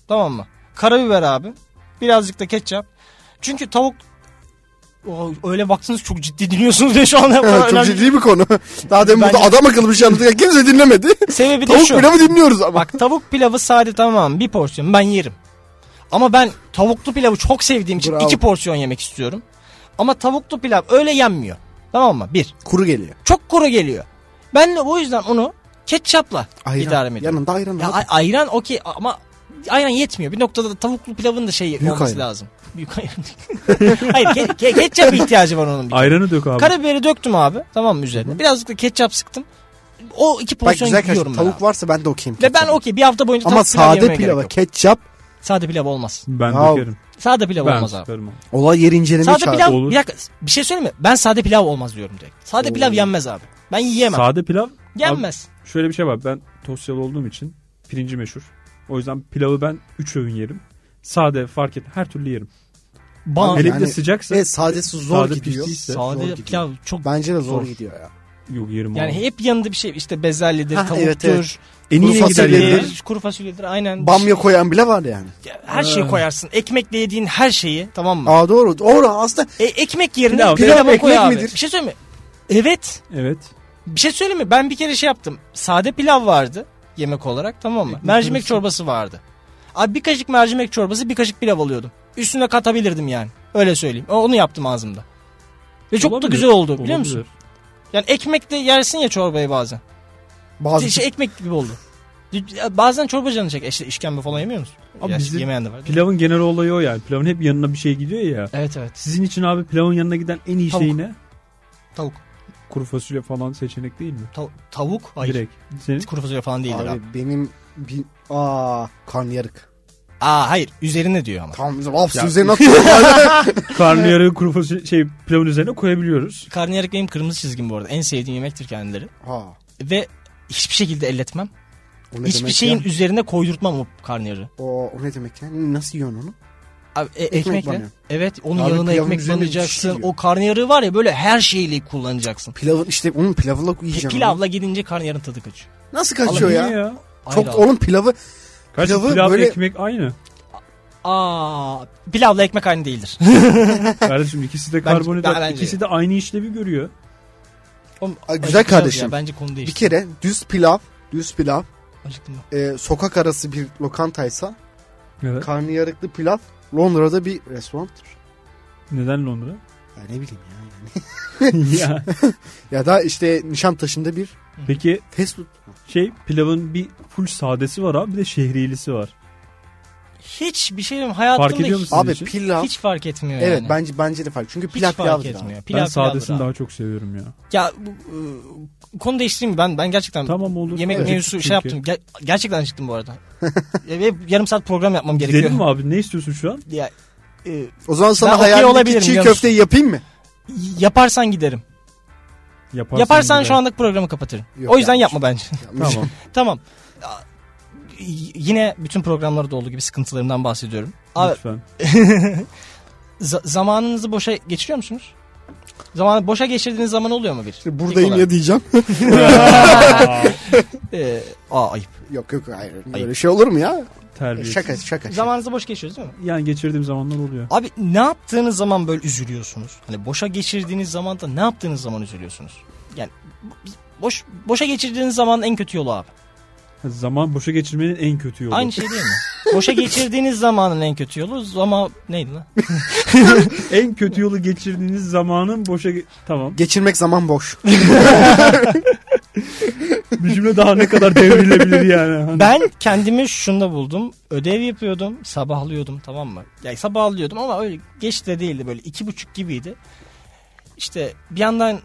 [SPEAKER 1] Tamam mı? Karabiber abi. Birazcık da ketçap. Çünkü tavuk Oo, öyle baktınız çok ciddi dinliyorsunuz ya şu anda.
[SPEAKER 2] Evet, çok
[SPEAKER 1] Önemli-
[SPEAKER 2] ciddi bir konu. Daha demin
[SPEAKER 1] Bence-
[SPEAKER 2] burada adam akıllı bir şey anlattık. Kimse dinlemedi.
[SPEAKER 1] Sebebi de
[SPEAKER 2] Tavuk
[SPEAKER 1] şu.
[SPEAKER 2] pilavı dinliyoruz ama.
[SPEAKER 1] Bak tavuk pilavı sade tamam bir porsiyon ben yerim. Ama ben tavuklu pilavı çok sevdiğim için
[SPEAKER 2] Bravo.
[SPEAKER 1] iki porsiyon yemek istiyorum. Ama tavuklu pilav öyle yenmiyor. Tamam mı? Bir.
[SPEAKER 2] Kuru geliyor.
[SPEAKER 1] Çok kuru geliyor. Ben de o yüzden onu ketçapla
[SPEAKER 2] Ayran.
[SPEAKER 1] idare ediyorum.
[SPEAKER 2] Yanında ayran.
[SPEAKER 1] Ya
[SPEAKER 2] abi.
[SPEAKER 1] ay- ayran okey ama ayran yetmiyor. Bir noktada da tavuklu pilavın da şey
[SPEAKER 2] Büyük
[SPEAKER 1] olması
[SPEAKER 2] ayran.
[SPEAKER 1] lazım. Büyük ayran. Hayır ke- ke- ketçap ihtiyacı var onun. bir.
[SPEAKER 3] Ayranı dök abi.
[SPEAKER 1] Karabiberi döktüm abi. Tamam mı üzerine? Birazcık da ketçap sıktım. O iki
[SPEAKER 2] Bak
[SPEAKER 1] porsiyon
[SPEAKER 2] güzel
[SPEAKER 1] yiyorum
[SPEAKER 2] kardeşim
[SPEAKER 1] ben.
[SPEAKER 2] tavuk
[SPEAKER 1] abi.
[SPEAKER 2] varsa ben de okeyim.
[SPEAKER 1] Ve ben
[SPEAKER 2] ketçabı.
[SPEAKER 1] okey bir hafta boyunca
[SPEAKER 2] Ama
[SPEAKER 1] tavuk pilav
[SPEAKER 2] sade
[SPEAKER 1] yemeye gerek
[SPEAKER 2] pilava
[SPEAKER 1] yok.
[SPEAKER 2] ketçap
[SPEAKER 1] Sade pilav olmaz.
[SPEAKER 3] Ben
[SPEAKER 2] Ya,
[SPEAKER 3] dökerim.
[SPEAKER 1] Sade pilav
[SPEAKER 3] Ben
[SPEAKER 1] olmaz abi.
[SPEAKER 3] sıkarım abi.
[SPEAKER 2] olay yer incelemeye
[SPEAKER 1] Sade
[SPEAKER 2] çağırdı.
[SPEAKER 1] pilav
[SPEAKER 3] Olur.
[SPEAKER 1] bir dakika bir şey söyleyeyim mi? Ben sade pilav olmaz diyorum direkt. Sade
[SPEAKER 2] Oo.
[SPEAKER 1] pilav yenmez abi. Ben yiyemem.
[SPEAKER 3] Sade pilav.
[SPEAKER 1] Yenmez.
[SPEAKER 3] Abi, şöyle bir şey var. Ben Tosyalı olduğum için pirinci meşhur. O yüzden pilavı ben 3 öğün yerim. Sade fark et her türlü yerim.
[SPEAKER 1] Bana-
[SPEAKER 3] Hele bir de
[SPEAKER 2] yani-
[SPEAKER 3] sıcaksa
[SPEAKER 2] Evet sadesi zor
[SPEAKER 3] Sade
[SPEAKER 2] gidiyor.
[SPEAKER 3] piştiyse-
[SPEAKER 2] Zor
[SPEAKER 1] sade
[SPEAKER 2] gidiyor.
[SPEAKER 1] pilav çok
[SPEAKER 2] Bence de zor,
[SPEAKER 1] Zor.
[SPEAKER 2] gidiyor ya.
[SPEAKER 3] yok yerim
[SPEAKER 1] yani
[SPEAKER 3] abi.
[SPEAKER 1] hep yanında bir şey işte bezelyedir,
[SPEAKER 2] Ha,
[SPEAKER 1] tavuktur,
[SPEAKER 2] evet, evet.
[SPEAKER 3] en
[SPEAKER 2] kuru
[SPEAKER 3] iyiye gider
[SPEAKER 2] fasulyedir.
[SPEAKER 3] yerim.
[SPEAKER 1] fasulyedir, kuru fasulyedir aynen.
[SPEAKER 2] Bamya koyan bile var yani.
[SPEAKER 1] Her şeyi koyarsın. Ekmekle yediğin her şeyi tamam mı?
[SPEAKER 2] Aa doğru. Doğru aslında
[SPEAKER 1] E, ekmek yerine
[SPEAKER 3] Pilav.
[SPEAKER 1] pilav,
[SPEAKER 2] Pilav
[SPEAKER 1] koy
[SPEAKER 2] ekmek
[SPEAKER 1] abi.
[SPEAKER 2] midir?
[SPEAKER 1] Bir şey söyleyeyim mi? Evet.
[SPEAKER 3] Evet.
[SPEAKER 1] Bir şey söyleyeyim mi? Ben bir kere şey yaptım. Sade pilav vardı yemek olarak tamam mı? mercimek
[SPEAKER 3] arası.
[SPEAKER 1] çorbası vardı. Abi bir kaşık mercimek çorbası bir kaşık pilav alıyordum. Üstüne katabilirdim yani. Öyle söyleyeyim. O- Onu yaptım ağzımda. Ve çok da
[SPEAKER 3] Olabilir.
[SPEAKER 1] güzel oldu biliyor
[SPEAKER 3] Olabilir.
[SPEAKER 1] musun? Yani ekmekle yersin ya çorbayı bazen.
[SPEAKER 2] bazı
[SPEAKER 1] şey, ekmek gibi oldu. Bazen çorba canı çek. İşte işkembe falan yemiyor musun?
[SPEAKER 3] Abi
[SPEAKER 1] Ya,
[SPEAKER 3] bizim
[SPEAKER 1] yemeyen de var.
[SPEAKER 3] Pilavın genel olayı o yani. Pilavın hep yanına bir şey gidiyor ya.
[SPEAKER 1] Evet evet.
[SPEAKER 3] Sizin için abi pilavın yanına giden en iyi
[SPEAKER 1] Tavuk.
[SPEAKER 3] şey ne?
[SPEAKER 1] Tavuk.
[SPEAKER 3] Kuru fasulye falan seçenek değil mi?
[SPEAKER 1] Tav- tavuk. Hayır.
[SPEAKER 3] Direkt. Senin
[SPEAKER 1] Kuru fasulye falan değildir abi.
[SPEAKER 2] Abi benim bir... Aa karnıyarık.
[SPEAKER 1] Aa hayır üzerine diyor ama.
[SPEAKER 2] Tamam güzel. Of
[SPEAKER 3] Ya-
[SPEAKER 2] üzerine atıyor.
[SPEAKER 3] karnıyarığı kuru fasulye şey pilavın üzerine koyabiliyoruz.
[SPEAKER 1] Karnıyarık benim kırmızı çizgim bu arada. En sevdiğim yemektir kendileri.
[SPEAKER 2] ha.
[SPEAKER 1] Ve hiçbir şekilde elletmem.
[SPEAKER 2] O ne
[SPEAKER 1] Hiçbir
[SPEAKER 2] demek
[SPEAKER 1] şeyin
[SPEAKER 2] Ya?
[SPEAKER 1] üzerine koydurtmam o karnıyarığı.
[SPEAKER 2] O, o ne demek ya? Nasıl yiyorsun onu?
[SPEAKER 1] Abi, e-
[SPEAKER 2] Ekmek
[SPEAKER 1] ekmekle.
[SPEAKER 2] banıyor.
[SPEAKER 1] Evet onun
[SPEAKER 2] Abi
[SPEAKER 1] yanına
[SPEAKER 2] pilavın
[SPEAKER 1] ekmek
[SPEAKER 2] üzerine bir şey
[SPEAKER 1] banacaksın.
[SPEAKER 2] yiyor.
[SPEAKER 1] O karnıyarığı var ya böyle her şeyle kullanacaksın.
[SPEAKER 2] Pilavın işte onun pilavla yiyeceksin. onu.
[SPEAKER 1] Pilavla gidince karnıyarın tadı kaçıyor.
[SPEAKER 2] Nasıl
[SPEAKER 3] Ama
[SPEAKER 2] kaçıyor
[SPEAKER 3] niye
[SPEAKER 2] ya? Çok
[SPEAKER 1] Ayrı abi.
[SPEAKER 2] onun pilavı
[SPEAKER 3] Karşı
[SPEAKER 2] Pilavı
[SPEAKER 3] pilav
[SPEAKER 2] böyle-
[SPEAKER 3] ekmek aynı.
[SPEAKER 1] Aa, pilavla ekmek aynı değildir.
[SPEAKER 3] Kardeşim ikisi de karbonhidrat.
[SPEAKER 1] ben- bence
[SPEAKER 3] ikisi de aynı işlevi görüyor.
[SPEAKER 1] Oğlum,
[SPEAKER 2] Ay, güzel
[SPEAKER 1] acıkacağız
[SPEAKER 2] kardeşim.
[SPEAKER 1] ya, bence konu değişti.
[SPEAKER 2] bir kere düz pilav, düz pilav
[SPEAKER 1] Acıktım ben.
[SPEAKER 2] e, sokak arası bir lokantaysa
[SPEAKER 3] Evet.
[SPEAKER 2] karnıyarıklı pilav Londra'da bir restorandır.
[SPEAKER 3] Neden Londra?
[SPEAKER 2] Ya ne bileyim ya. yani.
[SPEAKER 3] ya.
[SPEAKER 2] ya da işte Nişantaşı'nda bir
[SPEAKER 3] Peki
[SPEAKER 2] fast food.
[SPEAKER 3] şey pilavın bir full sadesi var abi bir de şehriyelisi var.
[SPEAKER 1] Hiç bir şey hayatımda
[SPEAKER 3] Fark ediyor
[SPEAKER 1] hiç-
[SPEAKER 3] musun? Sizin
[SPEAKER 2] Abi
[SPEAKER 3] için?
[SPEAKER 2] pilav.
[SPEAKER 1] Hiç fark etmiyor
[SPEAKER 2] evet
[SPEAKER 1] yani.
[SPEAKER 2] bence bence de fark. Çünkü
[SPEAKER 1] Hiç
[SPEAKER 2] pilav
[SPEAKER 1] fark
[SPEAKER 2] pilavdır abi.
[SPEAKER 1] etmiyor. Pilav
[SPEAKER 3] ben
[SPEAKER 1] pilavdır
[SPEAKER 3] sadesini
[SPEAKER 1] abi.
[SPEAKER 3] daha çok seviyorum ya.
[SPEAKER 1] Ya bu, e, konu değiştireyim mi? ben ben gerçekten
[SPEAKER 3] Tamam olur.
[SPEAKER 1] yemek
[SPEAKER 3] Evet.
[SPEAKER 1] mevzusu şey
[SPEAKER 3] Çünkü-
[SPEAKER 1] yaptım. Ger- gerçekten acıktım bu arada. Ya Ve yarım saat program yapmam gerekiyor.
[SPEAKER 3] Gidelim mi abi ne istiyorsun şu an?
[SPEAKER 1] Ya, e,
[SPEAKER 2] O zaman
[SPEAKER 1] Ben
[SPEAKER 2] sana
[SPEAKER 1] okey
[SPEAKER 2] hayalindeki
[SPEAKER 1] olabilirim,
[SPEAKER 2] çiğ
[SPEAKER 1] biliyor
[SPEAKER 2] köfteyi yapayım mı?
[SPEAKER 1] yaparsan giderim.
[SPEAKER 3] Yaparsan,
[SPEAKER 1] Yaparsan
[SPEAKER 3] gider.
[SPEAKER 1] şu anlık programı kapatırım.
[SPEAKER 2] Yok,
[SPEAKER 1] o yüzden
[SPEAKER 2] yanlış.
[SPEAKER 1] yapma bence.
[SPEAKER 3] Tamam.
[SPEAKER 1] tamam. Ya, y- Yine bütün programlarda olduğu gibi sıkıntılarımdan bahsediyorum. Abi,
[SPEAKER 3] Lütfen.
[SPEAKER 1] za- zamanınızı boşa geçiriyor musunuz? Zamanı boşa geçirdiğiniz zaman oluyor mu bir?
[SPEAKER 2] İşte buradayım ya diyeceğim.
[SPEAKER 1] Ee, aa ayıp.
[SPEAKER 2] yok yok hayır. Böyle
[SPEAKER 1] Ayıp.
[SPEAKER 2] şey olur mu ya?
[SPEAKER 3] Terbiyesiz.
[SPEAKER 2] Şaka şaka. şaka.
[SPEAKER 1] Zamanınızı boş geçiriyoruz değil mi?
[SPEAKER 3] Yani geçirdiğim zamanlar oluyor.
[SPEAKER 1] Abi ne yaptığınız zaman böyle üzülüyorsunuz? Hani boşa geçirdiğiniz zaman da ne yaptığınız zaman üzülüyorsunuz? Yani bo- boş boşa geçirdiğiniz zaman en kötü yolu abi.
[SPEAKER 3] Zaman boşa geçirmenin en kötü yolu.
[SPEAKER 1] Aynı şey değil mi? boşa geçirdiğiniz zamanın en kötü yolu ama neydi lan?
[SPEAKER 3] En kötü yolu geçirdiğiniz zamanın boşa... ge- Tamam.
[SPEAKER 2] Geçirmek zaman boş.
[SPEAKER 3] Bir cümle daha ne kadar devrilebilir yani. Hani-
[SPEAKER 1] Ben kendimi şunda buldum. Ödev yapıyordum. Sabahlıyordum tamam mı? Yani sabahlıyordum ama öyle geç de değildi böyle iki buçuk gibiydi. İşte bir yandan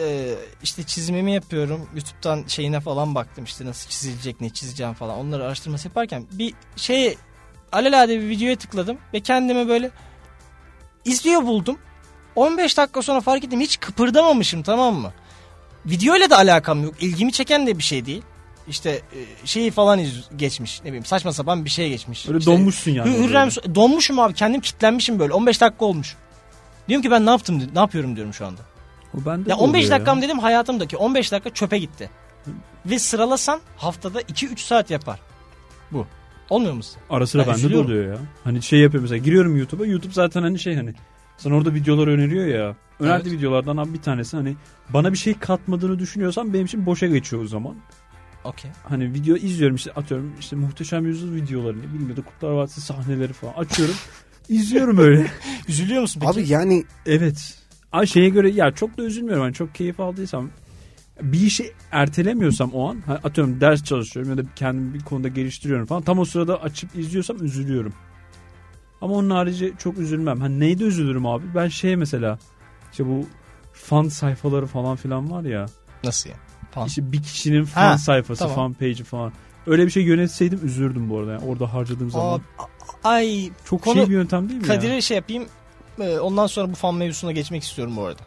[SPEAKER 1] e, işte çizimimi yapıyorum. Youtube'dan şeyine falan baktım işte nasıl çizilecek ne çizeceğim falan. Onları araştırması yaparken bir şey alelade bir videoya tıkladım ve kendimi böyle izliyor buldum. 15 dakika sonra fark ettim hiç kıpırdamamışım tamam mı? Videoyla da alakam yok. İlgimi çeken de bir şey değil. İşte e, şeyi falan iz- geçmiş. Ne bileyim saçma sapan bir şey geçmiş.
[SPEAKER 3] Öyle
[SPEAKER 1] İşte-
[SPEAKER 3] donmuşsun yani.
[SPEAKER 1] Hü- Hürrem Su- donmuşum abi kendim kitlenmişim böyle 15 dakika olmuş. Diyorum ki ben ne yaptım ne yapıyorum diyorum şu anda.
[SPEAKER 3] O bende
[SPEAKER 1] Ya
[SPEAKER 3] de oluyor
[SPEAKER 1] 15
[SPEAKER 3] ya.
[SPEAKER 1] dakikam dedim hayatımdaki 15 dakika çöpe gitti. Ve sıralasan haftada 2-3 saat yapar. Bu. Olmuyor mu size?
[SPEAKER 3] Ara sıra
[SPEAKER 1] Ben
[SPEAKER 3] bende de
[SPEAKER 1] üzülüyorum.
[SPEAKER 3] oluyor ya. Hani şey yapıyorum mesela giriyorum YouTube'a. YouTube zaten hani şey hani sana orada videolar öneriyor ya. Önerdiği videolardan abi bir tanesi hani bana bir şey katmadığını düşünüyorsan benim için boşa geçiyor o zaman.
[SPEAKER 1] Okey.
[SPEAKER 3] hani video izliyorum işte atıyorum işte muhteşem yüzyıl videolarını bilmiyorum da Kurtlar Vadisi sahneleri falan açıyorum. izliyorum öyle.
[SPEAKER 1] Üzülüyor musun peki?
[SPEAKER 2] Abi yani
[SPEAKER 3] evet. Ay şeye göre ya çok da üzülmüyorum. Hani çok keyif aldıysam bir işi ertelemiyorsam o an hani atıyorum ders çalışıyorum ya da kendimi bir konuda geliştiriyorum falan tam o sırada açıp izliyorsam üzülüyorum. Ama onun harici çok üzülmem. Hani neyde üzülürüm abi? Ben şey mesela işte bu fan sayfaları falan filan var ya.
[SPEAKER 1] Nasıl yani? Fan.
[SPEAKER 3] İşte bir kişinin fan
[SPEAKER 1] Ha,
[SPEAKER 3] sayfası,
[SPEAKER 1] tamam.
[SPEAKER 3] fan page'i falan. Öyle bir şey yönetseydim üzülürdüm bu arada. Yani orada harcadığım zaman.
[SPEAKER 1] Aa, ay
[SPEAKER 3] Çok
[SPEAKER 1] konu-
[SPEAKER 3] şey bir yöntem değil mi
[SPEAKER 1] Kadir'e
[SPEAKER 3] ya?
[SPEAKER 1] şey yapayım. Ee, Ondan sonra bu fan mevzusuna geçmek istiyorum bu arada.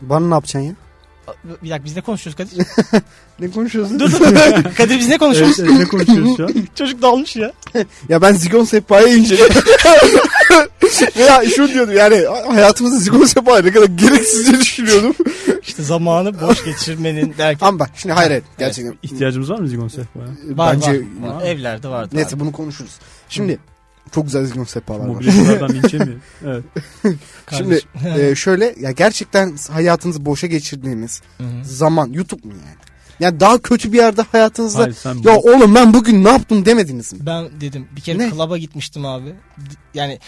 [SPEAKER 2] bana ne yapacaksın ya?
[SPEAKER 1] Aa, Bir dakika biz ne konuşuyoruz Kadir?
[SPEAKER 2] Ne konuşuyorsun?
[SPEAKER 1] dur dur dur. Kadir biz ne konuşuyoruz?
[SPEAKER 3] Evet, evet, ne konuşuyoruz şu an?
[SPEAKER 1] Çocuk dalmış ya.
[SPEAKER 2] Ya ben zigon sehpayı inceliyorum. Veya şunu diyordum yani hayatımızda zigon sehpayı ne kadar gereksizce düşünüyordum.
[SPEAKER 1] İşte zamanı boş geçirmenin derken.
[SPEAKER 2] Ama bak şimdi hayır hayır gerçekten.
[SPEAKER 3] İhtiyacımız var mı zigon sehpaya?
[SPEAKER 1] Var,
[SPEAKER 2] bence
[SPEAKER 1] var, var.
[SPEAKER 3] Var.
[SPEAKER 1] Evlerde vardı.
[SPEAKER 2] neyse
[SPEAKER 1] abi.
[SPEAKER 2] bunu konuşuruz. Şimdi çok güzel zigon sehpalar var.
[SPEAKER 3] Mobilyacılardan linçe mi? Evet.
[SPEAKER 2] Şimdi
[SPEAKER 1] Kardeşim.
[SPEAKER 2] e, şöyle ya gerçekten hayatınızı boşa geçirdiğiniz
[SPEAKER 1] Hı hı.
[SPEAKER 2] zaman YouTube mu yani? Yani daha kötü bir yerde hayatınızda
[SPEAKER 3] Hayır sen
[SPEAKER 2] ya oğlum ben bugün ne yaptım demediniz mi?
[SPEAKER 1] Ben dedim bir kere
[SPEAKER 2] Ne?
[SPEAKER 1] klaba gitmiştim abi. D- Yani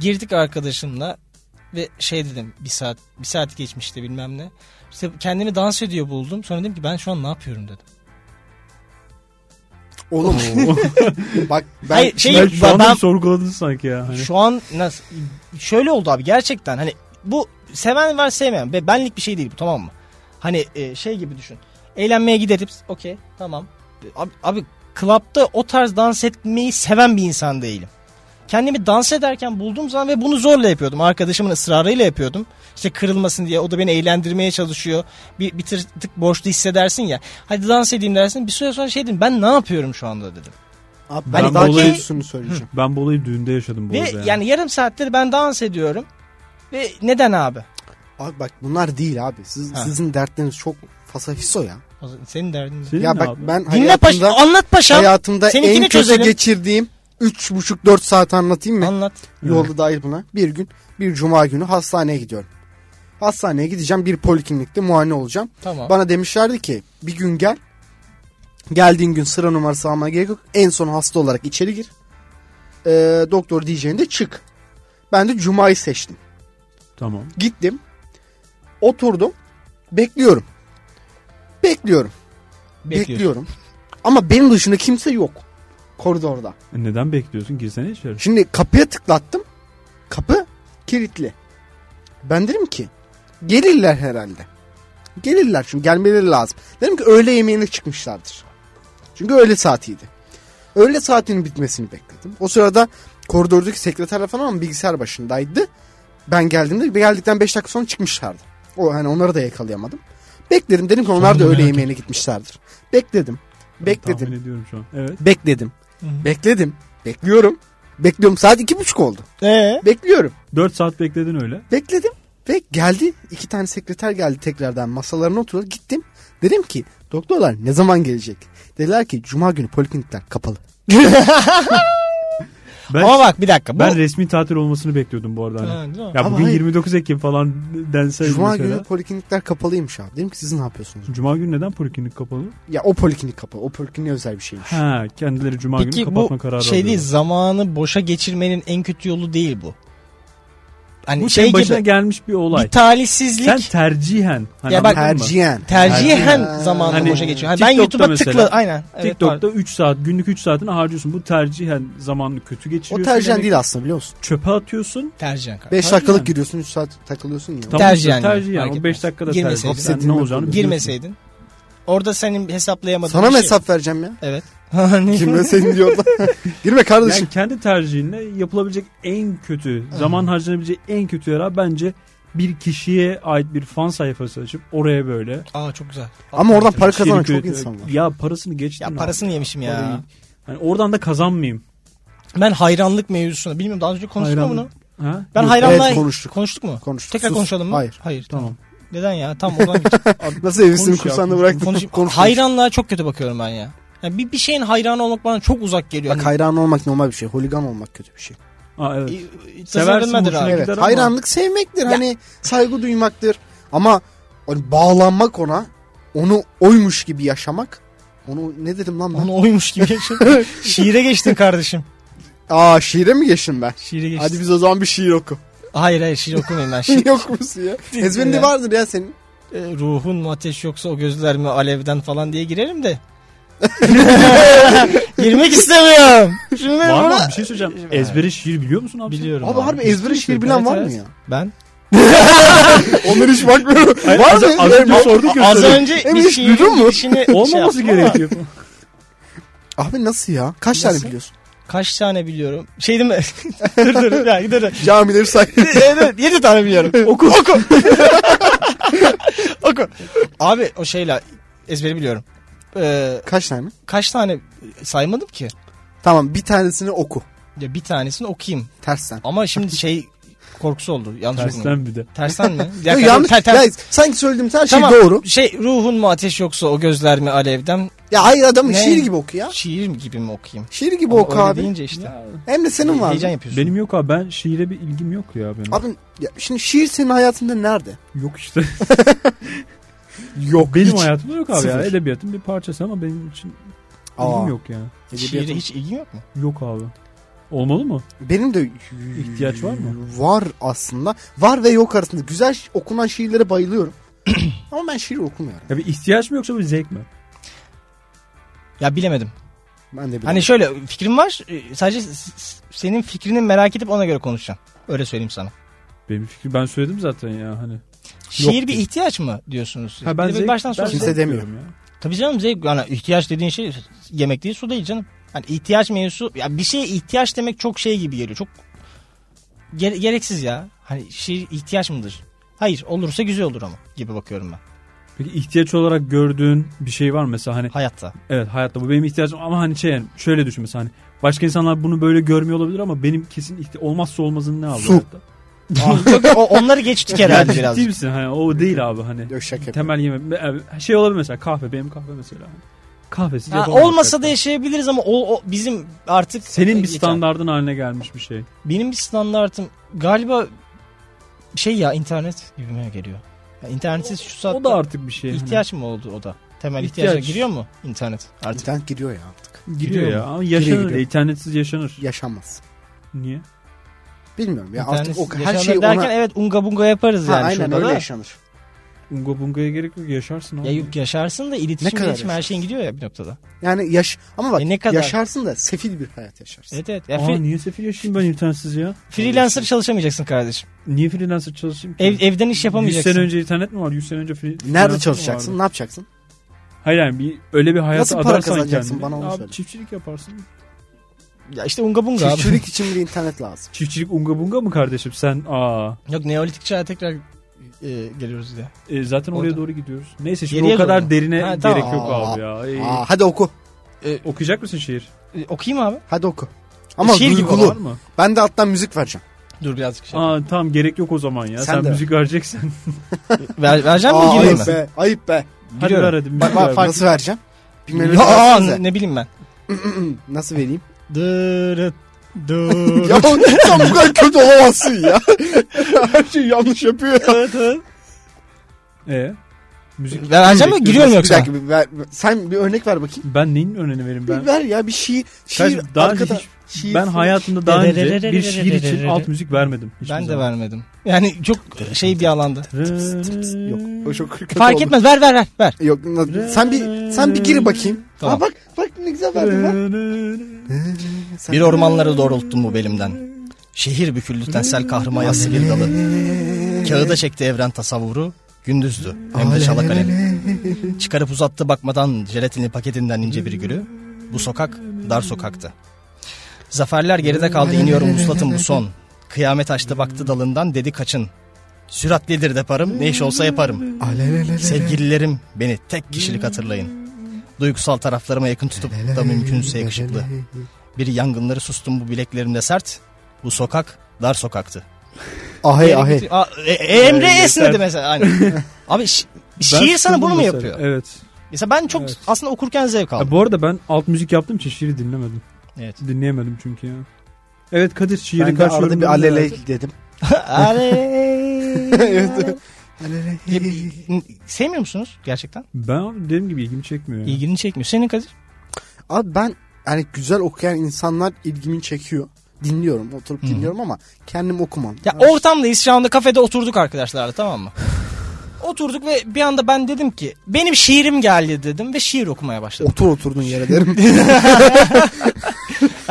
[SPEAKER 1] girdik arkadaşımla ve şey dedim bir saat bir saat geçmişti bilmem ne. İşte kendimi dans ediyor buldum. Sonra dedim ki ben şu an ne yapıyorum dedim.
[SPEAKER 2] Oğlum
[SPEAKER 3] Oo.
[SPEAKER 2] bak ben
[SPEAKER 1] Hayır, şey-
[SPEAKER 3] ben şu anda
[SPEAKER 1] ben-
[SPEAKER 3] bir sorguladın sanki ya. Hani.
[SPEAKER 1] Şu an nasıl şöyle oldu abi gerçekten hani bu seven var sevmeyen ve benlik bir şey değil bu tamam mı? Hani e, şey gibi düşün. Eğlenmeye gideriz. Okey tamam. Abi, abi klapta o tarz dans etmeyi seven bir insan değilim. Kendimi dans ederken bulduğum zaman ve bunu zorla yapıyordum. Arkadaşımın ısrarıyla yapıyordum. İşte kırılmasın diye o da beni eğlendirmeye çalışıyor. Bir, bir tır- tık borçlu hissedersin ya. Hadi dans edeyim dersin. Bir süre sonra şey dedim ben ne yapıyorum şu anda dedim.
[SPEAKER 2] Abi
[SPEAKER 1] Ben
[SPEAKER 2] ben,
[SPEAKER 1] bu
[SPEAKER 2] daha
[SPEAKER 1] olayı-
[SPEAKER 2] kötüsünü söyleyeceğim.
[SPEAKER 3] Ben bu olayı düğünde yaşadım bu
[SPEAKER 1] Ve
[SPEAKER 3] arada.
[SPEAKER 1] yani. yarım saattir ben dans ediyorum. Ve neden abi?
[SPEAKER 2] Abi bak bunlar değil abi. Siz,
[SPEAKER 1] Ha.
[SPEAKER 2] sizin dertleriniz çok fasafiso ya.
[SPEAKER 1] O zaman Senin derdin ne?
[SPEAKER 3] Senin
[SPEAKER 2] ya
[SPEAKER 3] ne
[SPEAKER 2] bak
[SPEAKER 3] abi?
[SPEAKER 2] ben
[SPEAKER 1] Dinle paşa,
[SPEAKER 2] hayatımda,
[SPEAKER 1] anlat paşam.
[SPEAKER 2] hayatımda en
[SPEAKER 1] Seninkini
[SPEAKER 2] kötü
[SPEAKER 1] çözelim.
[SPEAKER 2] geçirdiğim 3,5-4 saat anlatayım mı?
[SPEAKER 1] Anlat.
[SPEAKER 2] Yolda dahil buna. Bir gün bir cuma günü hastaneye gidiyorum. Hastaneye gideceğim bir poliklinikte muayene olacağım.
[SPEAKER 1] Tamam.
[SPEAKER 2] Bana demişlerdi ki bir gün gel. Geldiğin gün sıra numarası almana gerek yok. En son hasta olarak içeri gir. Ee, doktor diyeceğinde çık. Ben de cumayı seçtim.
[SPEAKER 3] Tamam.
[SPEAKER 2] Gittim. Oturdum. Bekliyorum. Bekliyorum.
[SPEAKER 1] Bekliyorum.
[SPEAKER 2] Bekliyorum. Ama benim dışında kimse yok. Koridorda.
[SPEAKER 3] E Neden bekliyorsun? Girsene içeri.
[SPEAKER 2] Şimdi kapıya tıklattım. Kapı kilitli. Ben dedim ki gelirler herhalde. Gelirler çünkü gelmeleri lazım. Dedim ki öğle yemeğine çıkmışlardır. Çünkü öğle saatiydi. Öğle saatinin bitmesini bekledim. O sırada koridordaki sekreterler falan ama bilgisayar başındaydı. Ben geldiğimde ve geldikten 5 dakika sonra çıkmışlardı. O hani onları da yakalayamadım. Bekledim dedim ki onlar da
[SPEAKER 1] Sonunda
[SPEAKER 2] öğle
[SPEAKER 1] merak
[SPEAKER 2] yemeğine gitmişlerdir. Bekledim. Bekledim.
[SPEAKER 3] Tahmin ediyorum şu an. Evet.
[SPEAKER 2] Bekledim.
[SPEAKER 1] Hı.
[SPEAKER 2] Bekledim. Bekliyorum. Bekliyorum. Saat iki buçuk oldu.
[SPEAKER 1] Ee?
[SPEAKER 2] Bekliyorum.
[SPEAKER 3] 4 saat bekledin öyle.
[SPEAKER 2] Bekledim. Ve geldi. iki tane sekreter geldi tekrardan masalarına oturdu. Gittim. Dedim ki doktorlar ne zaman gelecek? Dediler ki cuma günü poliklinikler kapalı.
[SPEAKER 3] Ben,
[SPEAKER 1] Ama bak bir dakika. Bu...
[SPEAKER 3] ben resmi tatil olmasını bekliyordum bu arada. Hani.
[SPEAKER 1] Ha, değil mi?
[SPEAKER 3] Ya
[SPEAKER 2] Ama
[SPEAKER 3] bugün
[SPEAKER 2] hayır.
[SPEAKER 3] 29 Ekim falan dense
[SPEAKER 2] cuma
[SPEAKER 3] mesela.
[SPEAKER 2] günü poliklinikler kapalıymış abi. Dedim ki siz ne yapıyorsunuz?
[SPEAKER 3] Cuma günü neden poliklinik kapalı?
[SPEAKER 2] Ya o poliklinik kapalı. O poliklinik özel bir şeymiş.
[SPEAKER 3] Ha, kendileri cuma günü
[SPEAKER 1] Peki
[SPEAKER 3] kapatma kararı
[SPEAKER 1] bu şey değil
[SPEAKER 3] alıyorlar.
[SPEAKER 1] zamanı boşa geçirmenin en kötü yolu değil bu. Hani
[SPEAKER 3] Bu
[SPEAKER 1] şey
[SPEAKER 3] senin başına
[SPEAKER 1] gibi
[SPEAKER 3] gelmiş bir olay.
[SPEAKER 1] bir talihsizlik
[SPEAKER 3] Sen tercihen. Hani
[SPEAKER 1] Ya bak-
[SPEAKER 3] anladın mı?
[SPEAKER 2] Tercihen.
[SPEAKER 1] tercihen
[SPEAKER 2] Tercihen.
[SPEAKER 1] zamanı
[SPEAKER 3] Hani
[SPEAKER 1] boşa geçiyor. Hani ben
[SPEAKER 3] TikTok'ta
[SPEAKER 1] YouTube'a
[SPEAKER 3] mesela-
[SPEAKER 1] tıkla aynen. Evet,
[SPEAKER 3] TikTok'ta
[SPEAKER 1] pardon.
[SPEAKER 3] 3 saat günlük 3 saatini harcıyorsun. Bu tercihen zamanını kötü
[SPEAKER 2] O
[SPEAKER 3] geçiriyorsun.
[SPEAKER 2] tercihen
[SPEAKER 3] demek.
[SPEAKER 2] değil aslında biliyor musun?
[SPEAKER 3] Çöpe atıyorsun.
[SPEAKER 1] tercihen kanka.
[SPEAKER 2] 5
[SPEAKER 3] Tercihen.
[SPEAKER 2] dakikalık giriyorsun 3 saat takılıyorsun ya.
[SPEAKER 3] Tamam,
[SPEAKER 1] Tercihen yani,
[SPEAKER 3] Tercihen.
[SPEAKER 1] fark
[SPEAKER 3] O 5
[SPEAKER 1] etmez.
[SPEAKER 3] dakikada
[SPEAKER 1] Girmeseydin.
[SPEAKER 3] tercih. Sen ne
[SPEAKER 2] Hapsettin
[SPEAKER 3] olacağını
[SPEAKER 2] mi?
[SPEAKER 3] biliyorsun.
[SPEAKER 1] Girmeseydin. Orada senin hesaplayamadığın
[SPEAKER 2] Sana
[SPEAKER 1] bir
[SPEAKER 2] mı
[SPEAKER 1] şey.
[SPEAKER 2] hesap vereceğim ya?
[SPEAKER 1] Evet. Hani-
[SPEAKER 2] Kimle senin diyor da. Girme kardeşim.
[SPEAKER 3] Yani kendi tercihinle yapılabilecek en kötü, zaman harcanabilecek en kötü yara bence bir kişiye ait bir fan sayfası açıp oraya böyle
[SPEAKER 1] Aa çok güzel.
[SPEAKER 2] Ama oradan para
[SPEAKER 1] Hakikaten.
[SPEAKER 2] kazanan
[SPEAKER 3] içerik
[SPEAKER 2] çok
[SPEAKER 3] üretip-
[SPEAKER 2] insan var.
[SPEAKER 3] Ya parasını geçtim.
[SPEAKER 1] Ya parasını yemişim ya.
[SPEAKER 3] Hani oradan da kazanmayayım.
[SPEAKER 1] Ben hayranlık mevzusuna bilmiyorum daha önce konuştuk mu bunu?
[SPEAKER 3] Hayranlık. Ha?
[SPEAKER 1] Ben
[SPEAKER 3] Yok.
[SPEAKER 1] hayranlığa
[SPEAKER 2] Evet, konuştuk.
[SPEAKER 1] konuştuk mu?
[SPEAKER 2] Konuştuk.
[SPEAKER 1] Tekrar
[SPEAKER 2] Sus.
[SPEAKER 1] konuşalım mı?
[SPEAKER 2] Hayır.
[SPEAKER 1] Hayır. Tamam.
[SPEAKER 3] Tamam.
[SPEAKER 1] Neden ya? Tamam o zaman geç.
[SPEAKER 2] Nasıl evisini
[SPEAKER 3] Konuş ya,
[SPEAKER 2] kursağında
[SPEAKER 3] konuş.
[SPEAKER 2] bıraktın?
[SPEAKER 1] Konuşayım.
[SPEAKER 2] Konuş.
[SPEAKER 1] Hayranlığa çok kötü bakıyorum ben ya. Yani bir, bir şeyin hayranı olmak bana çok uzak geliyor.
[SPEAKER 2] Bak hayran olmak normal bir şey. Holigan olmak kötü bir şey.
[SPEAKER 3] Aa, evet.
[SPEAKER 1] hayır.
[SPEAKER 3] Seversin, hoşuna
[SPEAKER 1] abi.
[SPEAKER 3] gider
[SPEAKER 2] Evet.
[SPEAKER 3] ama-
[SPEAKER 2] Hayranlık sevmektir. Hani saygı duymaktır. Ama hani bağlanmak ona onu oymuş gibi yaşamak Onu ne dedim lan ben?
[SPEAKER 1] Onu oymuş gibi yaşadın. Şiire geçtin kardeşim.
[SPEAKER 2] Aa şiire mi geçtim ben?
[SPEAKER 1] Şiire geçtin.
[SPEAKER 2] Hadi biz o zaman bir şiir oku.
[SPEAKER 1] Hayır hayır şiir okumayayım ben. Şiir,
[SPEAKER 2] Şiir okumuşsun ya. Ezberinde
[SPEAKER 1] Ya.
[SPEAKER 2] vardır ya senin.
[SPEAKER 1] E, ruhun mu ateş yoksa o gözler mi alevden falan diye girerim de. Girmek istemiyorum. Şimdi
[SPEAKER 3] Var mı?
[SPEAKER 1] bana-
[SPEAKER 3] Bir şey söyleyeceğim. Ezbere şiir biliyor musun abi? sen?
[SPEAKER 1] Biliyorum.
[SPEAKER 2] Abi harbi e- ezbere şiir bilen
[SPEAKER 1] Evet,
[SPEAKER 2] var mı
[SPEAKER 1] evet.
[SPEAKER 2] ya?
[SPEAKER 1] Ben.
[SPEAKER 2] Onlar hiç bakmıyorum.
[SPEAKER 3] Hayır,
[SPEAKER 2] var
[SPEAKER 3] az-
[SPEAKER 2] mı?
[SPEAKER 3] az önce
[SPEAKER 2] Abi-
[SPEAKER 3] sorduk ya.
[SPEAKER 1] Az
[SPEAKER 3] söyle.
[SPEAKER 1] önce
[SPEAKER 2] Emin
[SPEAKER 1] bir
[SPEAKER 2] hiç
[SPEAKER 1] şiirin
[SPEAKER 2] duydun mu?
[SPEAKER 1] girişini şey
[SPEAKER 3] Olmaması
[SPEAKER 1] yaptım ama
[SPEAKER 3] gerekiyor.
[SPEAKER 2] Abi nasıl ya? Kaç
[SPEAKER 1] Nasıl?
[SPEAKER 2] tane biliyorsun?
[SPEAKER 1] Kaç tane biliyorum? Şey değil mi? dur dur. Ya, dur.
[SPEAKER 2] Camileri say.
[SPEAKER 1] evet, 7 tane biliyorum. Oku. Oku. Oku. Abi o şeyle ezberi biliyorum. Ee,
[SPEAKER 2] Kaç tane?
[SPEAKER 1] kaç tane saymadım ki.
[SPEAKER 2] Tamam bir tanesini oku.
[SPEAKER 1] Ya bir tanesini okuyayım.
[SPEAKER 2] Tersten.
[SPEAKER 1] Ama şimdi şey korkusu oldu. Yanlış Tersten.
[SPEAKER 3] Tersten bir de.
[SPEAKER 1] Tersten mi? Bir
[SPEAKER 2] Ya,
[SPEAKER 1] dakika,
[SPEAKER 2] yanlış.
[SPEAKER 1] ter- ter-
[SPEAKER 2] Ya, sanki söylediğimiz her şey
[SPEAKER 1] Tamam.
[SPEAKER 2] doğru.
[SPEAKER 1] Şey ruhun mu ateş yoksa o gözler mi alevden?
[SPEAKER 2] Ya hayır adamın
[SPEAKER 1] Ne?
[SPEAKER 2] şiir gibi oku ya.
[SPEAKER 1] Şiir gibi mi okuyayım?
[SPEAKER 2] Şiir gibi
[SPEAKER 1] Ama
[SPEAKER 2] oku
[SPEAKER 1] öyle
[SPEAKER 2] abi.
[SPEAKER 1] deyince işte.
[SPEAKER 2] Hem de senin var.
[SPEAKER 1] Heyecan yapıyorsun.
[SPEAKER 3] Benim yok abi ben şiire bir ilgim yok ya benim.
[SPEAKER 2] Abi ya şimdi şiir senin hayatında nerede?
[SPEAKER 3] Yok işte.
[SPEAKER 2] Yok
[SPEAKER 3] benim hayatımda yok abi ya.
[SPEAKER 2] Sıfır.
[SPEAKER 3] Edebiyatın bir parçası ama benim için
[SPEAKER 2] Aa.
[SPEAKER 3] ilgim yok ya.
[SPEAKER 1] E, Şiire hiç ilgin yok mu?
[SPEAKER 3] Yok abi. Olmalı mı?
[SPEAKER 2] Benim de
[SPEAKER 3] İhtiyaç var mı?
[SPEAKER 2] Var aslında. Var ve yok arasında. Güzel şi- okunan şiirlere bayılıyorum. Ama ben şiir okumuyorum.
[SPEAKER 3] Ya bir ihtiyaç mı yoksa bir zevk mi?
[SPEAKER 1] Ya bilemedim.
[SPEAKER 2] Ben de
[SPEAKER 1] Hani şöyle fikrim var. e, Sadece s- s- senin fikrini merak edip ona göre konuşacağım. Öyle söyleyeyim sana.
[SPEAKER 3] Benim fikri ben söyledim zaten ya hani.
[SPEAKER 1] Şiir bir
[SPEAKER 3] diyor.
[SPEAKER 1] ihtiyaç mı diyorsunuz siz?
[SPEAKER 3] Ha, ben
[SPEAKER 1] Bir de
[SPEAKER 3] zevk-
[SPEAKER 1] baştan
[SPEAKER 3] ben
[SPEAKER 1] sonra.
[SPEAKER 2] Kimse
[SPEAKER 3] zevk
[SPEAKER 2] demiyor.
[SPEAKER 3] diyorum ya.
[SPEAKER 1] Tabii canım zevk yani ihtiyaç dediğin şey yemek değil su değil canım. Hani ihtiyaç mevzusu ya bir şeye ihtiyaç demek çok şey gibi geliyor. Çok gere- gereksiz ya. Hani şiir ihtiyaç mıdır? Hayır olursa güzel olur ama gibi bakıyorum ben
[SPEAKER 3] Peki ihtiyaç olarak gördüğün bir şey var mı? mesela hani
[SPEAKER 1] hayatta.
[SPEAKER 3] evet hayatta bu benim ihtiyacım ama hani şey yani şöyle düşün mesela hani başka insanlar bunu böyle görmüyor olabilir ama benim kesin ihti- olmazsa olmazın ne abi
[SPEAKER 2] Su.
[SPEAKER 3] hayatta? Ah,
[SPEAKER 1] O- onları geçtik
[SPEAKER 3] Yani
[SPEAKER 1] herhalde biraz.
[SPEAKER 3] ciddi misin? Hani o değil abi hani.
[SPEAKER 2] Yok şaka yapıyorum.
[SPEAKER 3] Temel yeme e, şey olabilir mesela kahve benim kahve mesela. Kahvesiz
[SPEAKER 1] Ha,
[SPEAKER 3] yapamam
[SPEAKER 1] olmasa da
[SPEAKER 3] hayatta.
[SPEAKER 1] yaşayabiliriz ama o, o bizim artık
[SPEAKER 3] senin bir
[SPEAKER 1] Geçen-
[SPEAKER 3] standardın haline gelmiş bir şey.
[SPEAKER 1] Benim bir standartım galiba şey ya internet gibime geliyor. Ya internetsiz şu saatte
[SPEAKER 3] O da artık bir şey. hani.
[SPEAKER 1] ihtiyaç mı oldu o da? Temel ihtiyaca
[SPEAKER 3] İhtiyaç.
[SPEAKER 1] giriyor mu internet artık?
[SPEAKER 2] İnternet giriyor ya artık.
[SPEAKER 3] Gidiyor ya.
[SPEAKER 1] Gidiyor
[SPEAKER 3] Ama yaşanır.
[SPEAKER 2] Giriyor, gidiyor.
[SPEAKER 3] internetsiz yaşanır.
[SPEAKER 2] Yaşanmaz.
[SPEAKER 3] Niye?
[SPEAKER 2] Bilmiyorum ya artık
[SPEAKER 1] İnternetsiz
[SPEAKER 2] o, her
[SPEAKER 1] yaşanır
[SPEAKER 2] şey ona...
[SPEAKER 1] derken evet unga bunga yaparız
[SPEAKER 2] Ha,
[SPEAKER 1] yani
[SPEAKER 2] aynen
[SPEAKER 1] şurada
[SPEAKER 2] öyle
[SPEAKER 1] da.
[SPEAKER 2] yaşanır.
[SPEAKER 3] Unga bungaya gerek yok. Yaşarsın abi.
[SPEAKER 1] Ya yok yaşarsın da
[SPEAKER 2] Ne
[SPEAKER 1] iletişim,
[SPEAKER 2] kadar
[SPEAKER 1] iletişim her
[SPEAKER 2] yaşarsın?
[SPEAKER 1] şeyin gidiyor ya bir noktada.
[SPEAKER 2] Yani yaş ama bak
[SPEAKER 1] E ne kadar? E,
[SPEAKER 2] yaşarsın da sefil bir hayat yaşarsın.
[SPEAKER 1] Evet evet. Ya
[SPEAKER 3] Aa,
[SPEAKER 1] fre-
[SPEAKER 3] niye sefil yaşayayım ben internetsiz ya?
[SPEAKER 1] freelancer çalışamayacaksın kardeşim.
[SPEAKER 3] Niye freelancer çalışayım ki?
[SPEAKER 1] Ev, evden iş
[SPEAKER 3] 100
[SPEAKER 1] yapamayacaksın.
[SPEAKER 3] sene önce internet mi var? 100 sene önce free- freelancer
[SPEAKER 2] Nerede
[SPEAKER 3] mi
[SPEAKER 2] çalışacaksın?
[SPEAKER 3] vardı?
[SPEAKER 2] Ne yapacaksın?
[SPEAKER 3] Hayır yani bir, öyle bir hayata
[SPEAKER 2] Nasıl para
[SPEAKER 3] adarsan
[SPEAKER 2] kazanacaksın?
[SPEAKER 3] kendini.
[SPEAKER 2] Bana onu
[SPEAKER 3] Abi
[SPEAKER 2] söyle.
[SPEAKER 3] çiftçilik yaparsın.
[SPEAKER 1] Ya işte unga bunga abi.
[SPEAKER 2] Çiftçilik için bir internet lazım.
[SPEAKER 3] Çiftçilik unga bunga mı kardeşim sen? Aa.
[SPEAKER 1] Yok neolitik çağa tekrar e, geliyoruz diye.
[SPEAKER 3] E, zaten oraya
[SPEAKER 1] Orada.
[SPEAKER 3] doğru gidiyoruz. Neyse şimdi
[SPEAKER 1] Geriye
[SPEAKER 3] o kadar
[SPEAKER 1] doğru.
[SPEAKER 3] derine
[SPEAKER 1] Ha,
[SPEAKER 3] gerek
[SPEAKER 1] tamam.
[SPEAKER 3] yok
[SPEAKER 2] Aa.
[SPEAKER 3] abi ya. Ee,
[SPEAKER 2] Aa, hadi oku.
[SPEAKER 3] okuyacak mısın şiir?
[SPEAKER 1] E, okuyayım abi.
[SPEAKER 2] Hadi oku. Ama
[SPEAKER 1] E, Şiir gibi
[SPEAKER 2] duygulu.
[SPEAKER 3] Var mı?
[SPEAKER 2] ben de alttan müzik vereceğim.
[SPEAKER 1] Dur birazcık şey.
[SPEAKER 3] Aa tamam gerek yok o zaman ya.
[SPEAKER 2] Sen
[SPEAKER 3] Sen,
[SPEAKER 2] de.
[SPEAKER 3] müzik vereceksin.
[SPEAKER 1] Ver, vereceğim mi
[SPEAKER 2] Aa,
[SPEAKER 1] gireyim
[SPEAKER 2] ayıp
[SPEAKER 1] mi?
[SPEAKER 2] be. Ayıp be.
[SPEAKER 3] Hadi
[SPEAKER 1] Giriyorum.
[SPEAKER 3] ver hadi.
[SPEAKER 2] Bak,
[SPEAKER 3] Müzik
[SPEAKER 2] bak,
[SPEAKER 3] ver.
[SPEAKER 1] fark-
[SPEAKER 2] nasıl vereceğim? Bir melodi
[SPEAKER 1] Aa,
[SPEAKER 2] versenize.
[SPEAKER 1] ne, ne bileyim ben.
[SPEAKER 2] Nasıl vereyim?
[SPEAKER 1] Dırıt dırıt.
[SPEAKER 2] ya sen bu kadar kötü olamazsın ya. Her şeyi yanlış yapıyor ya.
[SPEAKER 3] Ee, müzik.
[SPEAKER 1] Vereceğim mi? Giriyorum
[SPEAKER 2] Bir
[SPEAKER 1] yoksa.
[SPEAKER 2] dakika bir ver, sen bir örnek ver bakayım.
[SPEAKER 3] Ben neyin önüne vereyim
[SPEAKER 2] Bir
[SPEAKER 3] ben?
[SPEAKER 2] ver ya bir şiir. Şiir
[SPEAKER 3] Kardeşim, daha önce
[SPEAKER 2] arkada.
[SPEAKER 3] hiç-
[SPEAKER 2] şiir
[SPEAKER 3] ben
[SPEAKER 2] falan.
[SPEAKER 3] hayatımda daha önce
[SPEAKER 1] Dererererererere.
[SPEAKER 3] bir şiir için alt müzik vermedim. hiçbir
[SPEAKER 1] Ben de
[SPEAKER 3] zaman.
[SPEAKER 1] vermedim. Yani çok şey bir alanda.
[SPEAKER 2] Yok o çok kötü
[SPEAKER 1] Fark
[SPEAKER 2] oldu.
[SPEAKER 1] etmez ver ver ver ver.
[SPEAKER 2] Yok na- sen bir sen bir gir bakayım.
[SPEAKER 1] Tamam.
[SPEAKER 2] Aa, bak bak ne güzel verdin lan. Sen-
[SPEAKER 1] Bir ormanları doğrulttum bu belimden. Şehir büküldü tensel kahrıma yassı bir dalı. Kağıda çekti evren tasavvuru. Gündüzdü hem de şala kalem. Çıkarıp uzattı bakmadan jelatinli paketinden ince bir gülü. Bu sokak dar sokaktı. Zaferler geride kaldı iniyorum muslatım bu son. Kıyamet açtı baktı dalından dedi kaçın. Süratlidir deparım ne iş olsa yaparım.
[SPEAKER 2] Alelelele.
[SPEAKER 1] Sevgililerim beni tek kişilik hatırlayın. Duygusal taraflarıma yakın tutup da mümkünse yakışıklı. Bir yangınları sustum bu bileklerimde sert. Bu sokak dar sokaktı.
[SPEAKER 2] Ahey
[SPEAKER 1] Eğer-
[SPEAKER 2] ahey.
[SPEAKER 1] Aa, e- e- Emre
[SPEAKER 3] Ee,
[SPEAKER 1] esnedi
[SPEAKER 3] ah, yeter.
[SPEAKER 1] mesela. Aynen. Abi şi- şiir sana bunu mu yapıyor?
[SPEAKER 3] Evet.
[SPEAKER 1] Mesela ben çok
[SPEAKER 3] Evet.
[SPEAKER 1] aslında okurken zevk
[SPEAKER 3] Ha,
[SPEAKER 1] aldım.
[SPEAKER 3] bu arada ben alt müzik yaptığım için şiiri dinlemedim.
[SPEAKER 1] Evet.
[SPEAKER 3] Dinleyemedim çünkü ya. Evet Kadir şiiri
[SPEAKER 2] Ben de
[SPEAKER 3] karşı
[SPEAKER 2] arada bir
[SPEAKER 3] yorumlarını ver.
[SPEAKER 2] aleley dedim.
[SPEAKER 1] Aley-
[SPEAKER 2] Evet.
[SPEAKER 1] Ya, Sevmiyor musunuz gerçekten?
[SPEAKER 3] Ben abi dediğim gibi ilgimi çekmiyor. yani.
[SPEAKER 1] İlgini çekmiyor. Senin Kadir?
[SPEAKER 2] Abi ben yani güzel okuyan insanlar ilgimi çekiyor. Dinliyorum oturup dinliyorum ama kendim okumam.
[SPEAKER 1] Ya
[SPEAKER 2] Yani
[SPEAKER 1] ortamdayız şu anda kafede oturduk arkadaşlarla tamam mı? oturduk ve bir anda ben dedim ki benim şiirim geldi dedim ve şiir okumaya başladım.
[SPEAKER 2] Otur oturduğun yere derim.
[SPEAKER 1] Yani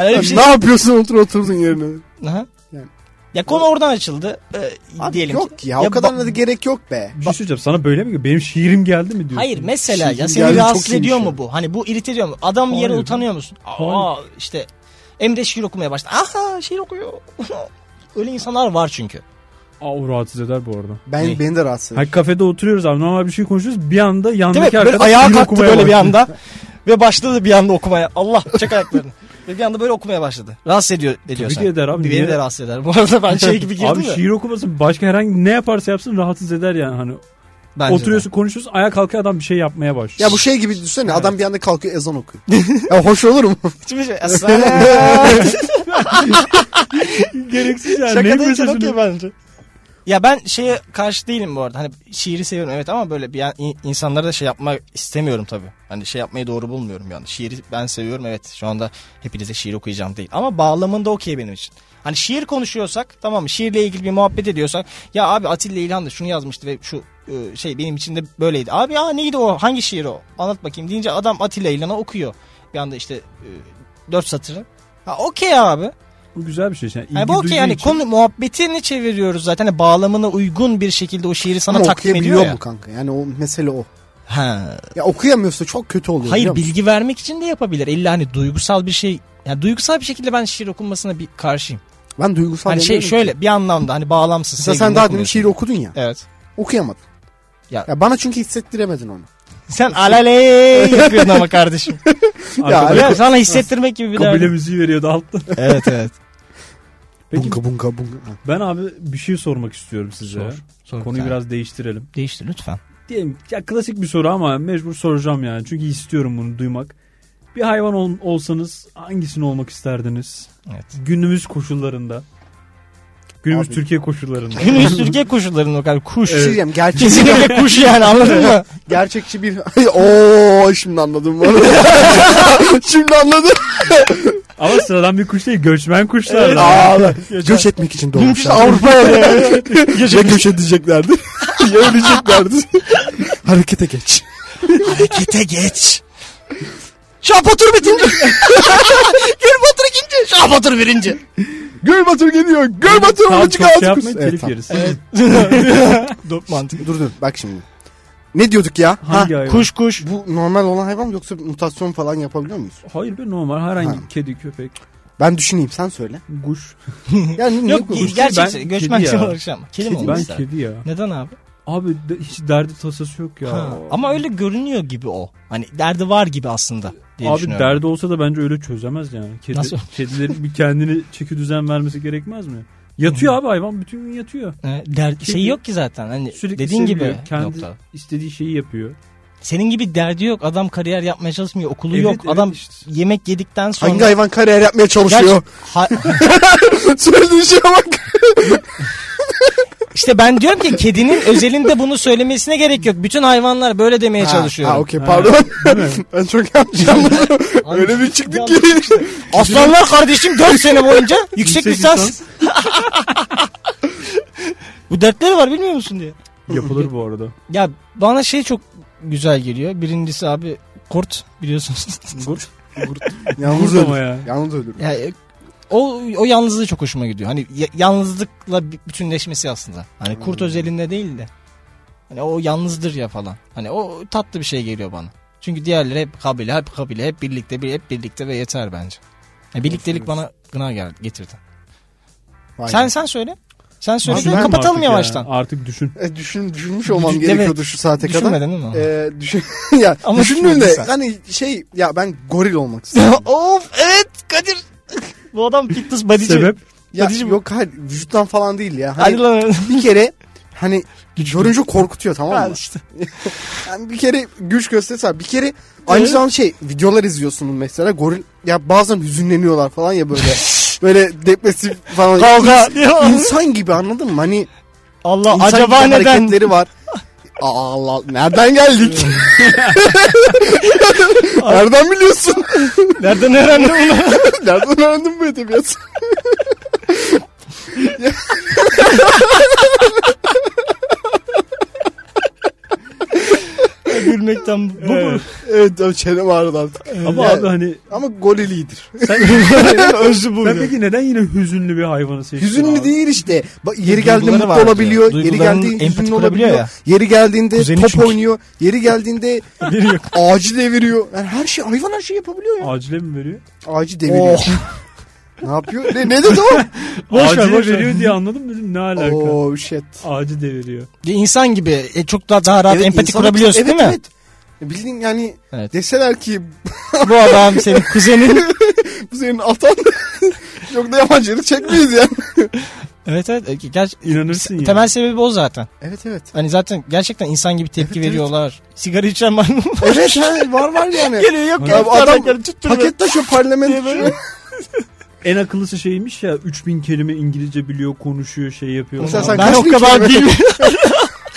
[SPEAKER 1] öyle bir şey-
[SPEAKER 2] ne yapıyorsun otur oturduğun yerine?
[SPEAKER 1] Aha.
[SPEAKER 2] Yani-
[SPEAKER 1] Ya konu oradan açıldı. Ee,
[SPEAKER 2] Abi
[SPEAKER 1] diyelim ki.
[SPEAKER 2] yok ya, o
[SPEAKER 1] Ya
[SPEAKER 2] kadar
[SPEAKER 1] ba-
[SPEAKER 2] da gerek yok be.
[SPEAKER 3] Bir şey söyleyeceğim sana böyle mi geliyor? Benim şiirim geldi mi diyorsun?
[SPEAKER 1] Hayır mesela ya
[SPEAKER 2] Şiirim
[SPEAKER 1] seni
[SPEAKER 2] Şey, geldi,
[SPEAKER 1] rahatsız
[SPEAKER 2] çok şey. iyiymiş
[SPEAKER 1] ediyor mu
[SPEAKER 2] ya.
[SPEAKER 1] bu? Hani bu irite ediyor mu? Adam bir yere
[SPEAKER 3] Hayır.
[SPEAKER 1] utanıyor musun? Aa işte Emre şiir okumaya başladı. Aha şiir okuyor. Öyle insanlar var çünkü.
[SPEAKER 3] Aa, o rahatsız eder bu arada.
[SPEAKER 2] Ben
[SPEAKER 1] Ne?
[SPEAKER 2] beni de rahatsız ediyor.
[SPEAKER 3] Hayır kafede oturuyoruz abi normal bir şey konuşuyoruz. Bir anda
[SPEAKER 1] Değil
[SPEAKER 3] yandaki
[SPEAKER 1] mi? Böyle
[SPEAKER 3] arkadaş
[SPEAKER 1] ayağa
[SPEAKER 3] şiir
[SPEAKER 1] kalktı
[SPEAKER 3] okumaya
[SPEAKER 1] böyle bir
[SPEAKER 3] başladı.
[SPEAKER 1] anda. Ve başladı bir anda okumaya. Allah çek ayaklarını. Ve bir anda böyle okumaya başladı. Rahatsız ediyor ediyor
[SPEAKER 3] Tabii
[SPEAKER 1] seni.
[SPEAKER 3] ki eder abi,
[SPEAKER 1] Beni
[SPEAKER 3] niye?
[SPEAKER 1] de rahatsız eder. Bu arada ben şey gibi girdim
[SPEAKER 3] Abi
[SPEAKER 1] ya.
[SPEAKER 3] şiir okumasın başka herhangi ne yaparsa yapsın rahatsız eder yani hani.
[SPEAKER 1] Bence de.
[SPEAKER 3] Oturuyorsun konuşuyorsun ayağa kalkıyor adam bir şey yapmaya başlıyor.
[SPEAKER 2] Ya bu şey gibi düşünsene adam bir anda kalkıyor ezan okuyor. ya hoş olur mu?
[SPEAKER 1] Hiçbir şey. Aslan.
[SPEAKER 3] gereksiz yani.
[SPEAKER 1] Şaka
[SPEAKER 3] Neyin
[SPEAKER 1] değilken
[SPEAKER 3] mesajını-
[SPEAKER 1] okey bence. Ya ben şeye karşı değilim bu arada. Hani şiiri seviyorum evet ama böyle bir an, in- insanlara da şey yapmak istemiyorum tabii. Hani şey yapmayı doğru bulmuyorum yani. Şiiri ben seviyorum evet. Şu anda hepinize şiir okuyacağım değil. Ama bağlamında okey benim için. Hani şiir konuşuyorsak tamam mı? Şiirle ilgili bir muhabbet ediyorsak ya abi Atilla İlhan da şunu yazmıştı ve şu e, şey benim için de böyleydi. Abi ya neydi o? Hangi şiir o? Anlat bakayım deyince adam Atilla İlhan'a okuyor. Bir anda işte e, dört satırı. Ha okey abi.
[SPEAKER 3] Bu güzel bir şey. Yani ilgi
[SPEAKER 1] Yani bu okey
[SPEAKER 3] duyduğu
[SPEAKER 1] yani
[SPEAKER 3] için-
[SPEAKER 1] konu muhabbetini çeviriyoruz zaten. Hani bağlamına uygun bir şekilde o şiiri sana
[SPEAKER 2] Ama
[SPEAKER 1] takdim ediyor
[SPEAKER 2] okuyabiliyor
[SPEAKER 1] ya.
[SPEAKER 2] mu kanka? Yani o mesele o.
[SPEAKER 1] Ha.
[SPEAKER 2] Ya okuyamıyorsa çok kötü oluyor.
[SPEAKER 1] Hayır
[SPEAKER 2] biliyor musun?
[SPEAKER 1] bilgi vermek için de yapabilir. İlla hani duygusal bir şey. Yani duygusal bir şekilde ben şiir okunmasına bir karşıyım.
[SPEAKER 2] Ben duygusal
[SPEAKER 1] hani şey
[SPEAKER 2] demiyorum ki.
[SPEAKER 1] şöyle bir anlamda hani bağlamsız.
[SPEAKER 2] Mesela sen
[SPEAKER 1] sevgilini
[SPEAKER 2] daha demin
[SPEAKER 1] okumuyorsun.
[SPEAKER 2] şiir okudun ya.
[SPEAKER 1] Evet.
[SPEAKER 2] Okuyamadın.
[SPEAKER 1] Ya-
[SPEAKER 2] Ya. bana çünkü hissettiremedin onu.
[SPEAKER 1] Sen alaley yapıyordun ama kardeşim.
[SPEAKER 3] Arkada
[SPEAKER 1] ya sana hissettirmek gibi bir
[SPEAKER 3] kabile
[SPEAKER 1] derdi.
[SPEAKER 3] müziği veriyordu altta.
[SPEAKER 1] Evet evet.
[SPEAKER 3] Peki
[SPEAKER 2] Bunga bunga bunga. Ha.
[SPEAKER 3] ben abi bir şey sormak istiyorum size.
[SPEAKER 1] Sor. Sor
[SPEAKER 3] Konuyu
[SPEAKER 1] bir tane.
[SPEAKER 3] biraz değiştirelim.
[SPEAKER 1] değiştir lütfen.
[SPEAKER 3] Diyelim ya klasik bir soru ama mecbur soracağım yani. Çünkü istiyorum bunu duymak. Bir hayvan ol- olsanız hangisini olmak isterdiniz?
[SPEAKER 1] Evet.
[SPEAKER 3] Günümüz koşullarında. Günümüz
[SPEAKER 2] Abi.
[SPEAKER 3] Türkiye koşullarında.
[SPEAKER 1] Günümüz Türkiye koşullarının o kadar kuş.
[SPEAKER 2] Bir şey diyeceğim. Gerçek,
[SPEAKER 1] Kesinlikle kuş yani anladın mı?
[SPEAKER 2] gerçekçi bir... Oo şimdi anladım. bu arada. şimdi anladım.
[SPEAKER 3] Ama sıradan bir kuş değil göçmen kuşlar.
[SPEAKER 2] Aa,
[SPEAKER 3] Yani.
[SPEAKER 2] Göç etmek için
[SPEAKER 1] Mümkünse
[SPEAKER 2] doğmuşlar.
[SPEAKER 1] Avrupa'ya da-
[SPEAKER 2] ya göç edeceklerdi ya öleceklerdi. Harekete geç.
[SPEAKER 1] Harekete geç. Şahbatır bitinci. Gülbatır ikinci. Şahbatır birinci.
[SPEAKER 2] Göl batır geliyor. Göl batır
[SPEAKER 3] Tamam,
[SPEAKER 2] onu
[SPEAKER 3] çok şey
[SPEAKER 2] çıkar.
[SPEAKER 3] yapmayın telif yeriz.
[SPEAKER 1] Mantıklı.
[SPEAKER 2] Dur dur bak şimdi. Ne diyorduk ya? Ha,
[SPEAKER 3] Hangi hayvan?
[SPEAKER 1] Kuş kuş.
[SPEAKER 2] bu normal olan hayvan mı yoksa mutasyon falan yapabiliyor muyuz?
[SPEAKER 3] Hayır be normal herhangi
[SPEAKER 2] Ha.
[SPEAKER 3] kedi, köpek,
[SPEAKER 2] Ben düşüneyim sen söyle.
[SPEAKER 3] kuş.
[SPEAKER 2] Yani
[SPEAKER 1] Yok
[SPEAKER 2] ne
[SPEAKER 3] kuş?
[SPEAKER 1] gerçekçi.
[SPEAKER 3] Ben
[SPEAKER 1] Göçmen
[SPEAKER 3] kedi ya.
[SPEAKER 1] olarak şey ama. Kedi mi
[SPEAKER 3] ben
[SPEAKER 1] olmak ister?
[SPEAKER 3] kedi ya.
[SPEAKER 1] Neden abi?
[SPEAKER 3] Abi de- hiç derdi tasası yok ya.
[SPEAKER 1] Ha. Ama öyle görünüyor gibi o. Hani derdi var gibi aslında diye
[SPEAKER 3] Abi
[SPEAKER 1] düşünüyorum.
[SPEAKER 3] derdi olsa da bence öyle çözemez yani. Kedi,
[SPEAKER 1] Nasıl?
[SPEAKER 3] Kedilerin bir kendini çeki düzen vermesi gerekmez mi? Yatıyor abi hayvan bütün gün yatıyor.
[SPEAKER 1] He, der- şey yok ki zaten. Hani
[SPEAKER 3] Sürekli
[SPEAKER 1] dediğin
[SPEAKER 3] seviyor.
[SPEAKER 1] gibi.
[SPEAKER 3] Kendi
[SPEAKER 1] nokta.
[SPEAKER 3] istediği şeyi yapıyor.
[SPEAKER 1] Senin gibi derdi yok. Adam kariyer yapmaya çalışmıyor. Okulu
[SPEAKER 3] Evet,
[SPEAKER 1] yok.
[SPEAKER 3] evet
[SPEAKER 1] Adam
[SPEAKER 3] işte.
[SPEAKER 1] yemek yedikten sonra.
[SPEAKER 2] Hangi hayvan kariyer yapmaya çalışıyor?
[SPEAKER 1] Gerçi- Ha-
[SPEAKER 2] Söylediğin şeye bak.
[SPEAKER 1] İşte ben diyorum ki kedinin özelinde bunu söylemesine gerek yok. Bütün hayvanlar böyle demeye çalışıyor.
[SPEAKER 2] Ha, okey
[SPEAKER 3] Ha,
[SPEAKER 2] pardon.
[SPEAKER 3] Değil mi?
[SPEAKER 2] ben çok yanlış anladım. Öyle bir çıktık ki.
[SPEAKER 1] Aslanlar kardeşim 4 sene boyunca yüksek
[SPEAKER 3] Yüksek
[SPEAKER 1] lisans. Bu dertleri var bilmiyor musun diye.
[SPEAKER 3] Yapılır bu arada.
[SPEAKER 1] Ya bana şey çok güzel geliyor. Birincisi abi kurt biliyorsunuz.
[SPEAKER 3] Kurt,
[SPEAKER 2] Yalnız
[SPEAKER 3] kurt ama
[SPEAKER 2] ölür.
[SPEAKER 3] ya.
[SPEAKER 2] Yalnız ölür.
[SPEAKER 1] Ya, e, o o yalnızlığı çok hoşuma gidiyor. Hani ya- yalnızlıkla bi- bütünleşmesi aslında. Hani kurt özelinde değil de. Hani o yalnızdır ya falan. Hani o tatlı bir şey geliyor bana. Çünkü diğerleri hep kabile, hep kabile, hep birlikte, bir- hep birlikte ve yeter bence. Ya birliktelik bana gına geldi, getirdi.
[SPEAKER 2] Vay
[SPEAKER 1] Sen
[SPEAKER 2] be.
[SPEAKER 1] sen söyle. Sen söyle.
[SPEAKER 2] Abi ben
[SPEAKER 1] de
[SPEAKER 2] mi
[SPEAKER 1] kapatalım
[SPEAKER 3] Artık ya,
[SPEAKER 1] yavaştan.
[SPEAKER 3] Artık düşün.
[SPEAKER 2] E, düşün, düşünmüş olmam
[SPEAKER 1] Evet.
[SPEAKER 2] gerekiyordu şu saate kadar.
[SPEAKER 1] Düşünmedin değil mi?
[SPEAKER 2] E, düşün, ya,
[SPEAKER 1] Ama
[SPEAKER 2] düşündüm de
[SPEAKER 1] düşünmedin sen.
[SPEAKER 2] hani şey ya ben goril olmak istiyorum.
[SPEAKER 1] of evet Kadir. Bu adam fitness bodyci.
[SPEAKER 3] Sebep
[SPEAKER 2] ya,
[SPEAKER 1] Kadir'cim-
[SPEAKER 2] yok hayır vücuttan falan değil ya. Hani
[SPEAKER 1] Hadi lan.
[SPEAKER 2] bir kere hani görünce korkutuyor tamam
[SPEAKER 1] Ha,
[SPEAKER 2] mı?
[SPEAKER 1] işte.
[SPEAKER 2] Yani bir kere güç gösterse bir kere aynı zamanda şey videolar izliyorsunuz mesela goril ya bazen hüzünleniyorlar falan ya böyle böyle depresif falan.
[SPEAKER 1] Kavga.
[SPEAKER 2] İns- İnsan gibi anladın mı? Hani
[SPEAKER 1] Allah
[SPEAKER 2] İnsan
[SPEAKER 1] acaba
[SPEAKER 2] gibi
[SPEAKER 1] neden?
[SPEAKER 2] hareketleri var. Aa, Allah nereden geldik? nereden biliyorsun?
[SPEAKER 1] Nereden öğrendin bunu?
[SPEAKER 2] nereden öğrendin bu edebiyatı?
[SPEAKER 1] Gülmekten bu bu mu?
[SPEAKER 3] Evet.
[SPEAKER 2] evet abi çenem ağrıdı artık.
[SPEAKER 3] Ama
[SPEAKER 2] Yani-
[SPEAKER 3] abi hani
[SPEAKER 2] Ama golelidir.
[SPEAKER 1] Özü
[SPEAKER 3] sen
[SPEAKER 1] buydu.
[SPEAKER 3] peki neden yine hüzünlü bir hayvanı seçtin?
[SPEAKER 2] Hüzünlü
[SPEAKER 3] abi?
[SPEAKER 2] değil işte. Ba- yeri geldiğinde
[SPEAKER 1] Duyguları
[SPEAKER 2] mutlu
[SPEAKER 1] var diyor.
[SPEAKER 2] olabiliyor. Yeri
[SPEAKER 1] Duygularının
[SPEAKER 2] geldiğinde
[SPEAKER 1] empati
[SPEAKER 2] hüzünlü
[SPEAKER 1] kurabiliyor
[SPEAKER 2] olabiliyor.
[SPEAKER 1] ya.
[SPEAKER 2] Yeri geldiğinde
[SPEAKER 1] Kuzeni
[SPEAKER 2] top
[SPEAKER 1] çünkü.
[SPEAKER 2] oynuyor. Yeri geldiğinde
[SPEAKER 1] Biri yok.
[SPEAKER 2] ağacı deviriyor. Yani her şey hayvan her şeyi yapabiliyor ya.
[SPEAKER 3] Acile mi veriyor?
[SPEAKER 1] Ah.
[SPEAKER 2] Ağacı deviriyor.
[SPEAKER 1] Oh.
[SPEAKER 2] ne yapıyor? Ne, ne dedi o?
[SPEAKER 1] Boş ver
[SPEAKER 3] Acile
[SPEAKER 1] boş ver.
[SPEAKER 3] veriyor diye anladım dedim ne alaka?
[SPEAKER 2] oh shit.
[SPEAKER 3] Ağacı deviriyor.
[SPEAKER 1] İnsan gibi e, çok daha daha rahat
[SPEAKER 2] Evet,
[SPEAKER 1] empati
[SPEAKER 2] insana-
[SPEAKER 1] kurabiliyorsun
[SPEAKER 2] evet,
[SPEAKER 1] değil mi?
[SPEAKER 2] Evet. Bildiğin yani
[SPEAKER 1] Evet.
[SPEAKER 2] deseler ki
[SPEAKER 1] Bu adam senin kuzenin.
[SPEAKER 2] bu senin atan çok da yabancılık çekmeyiz yani.
[SPEAKER 1] evet evet. E, Gerçi
[SPEAKER 3] İnanırsın ya.
[SPEAKER 1] Temel sebebi o zaten.
[SPEAKER 2] Evet evet.
[SPEAKER 1] Hani zaten gerçekten insan gibi tepki
[SPEAKER 2] Evet, evet.
[SPEAKER 1] veriyorlar. Sigara içen maymun
[SPEAKER 2] Evet ha, var var yani.
[SPEAKER 1] geliyor yok
[SPEAKER 3] Abi
[SPEAKER 1] ya.
[SPEAKER 2] adam
[SPEAKER 1] Adam
[SPEAKER 2] Paket taşı parlamento.
[SPEAKER 1] Diye böyle.
[SPEAKER 3] En akıllısı şeymiş ya 3000 kelime İngilizce biliyor, konuşuyor, şey yapıyor.
[SPEAKER 2] Mesela
[SPEAKER 3] falan.
[SPEAKER 2] sen
[SPEAKER 1] Ben
[SPEAKER 2] kaç
[SPEAKER 1] o
[SPEAKER 2] bin
[SPEAKER 1] kadar
[SPEAKER 2] kere-
[SPEAKER 1] bilmiyorum.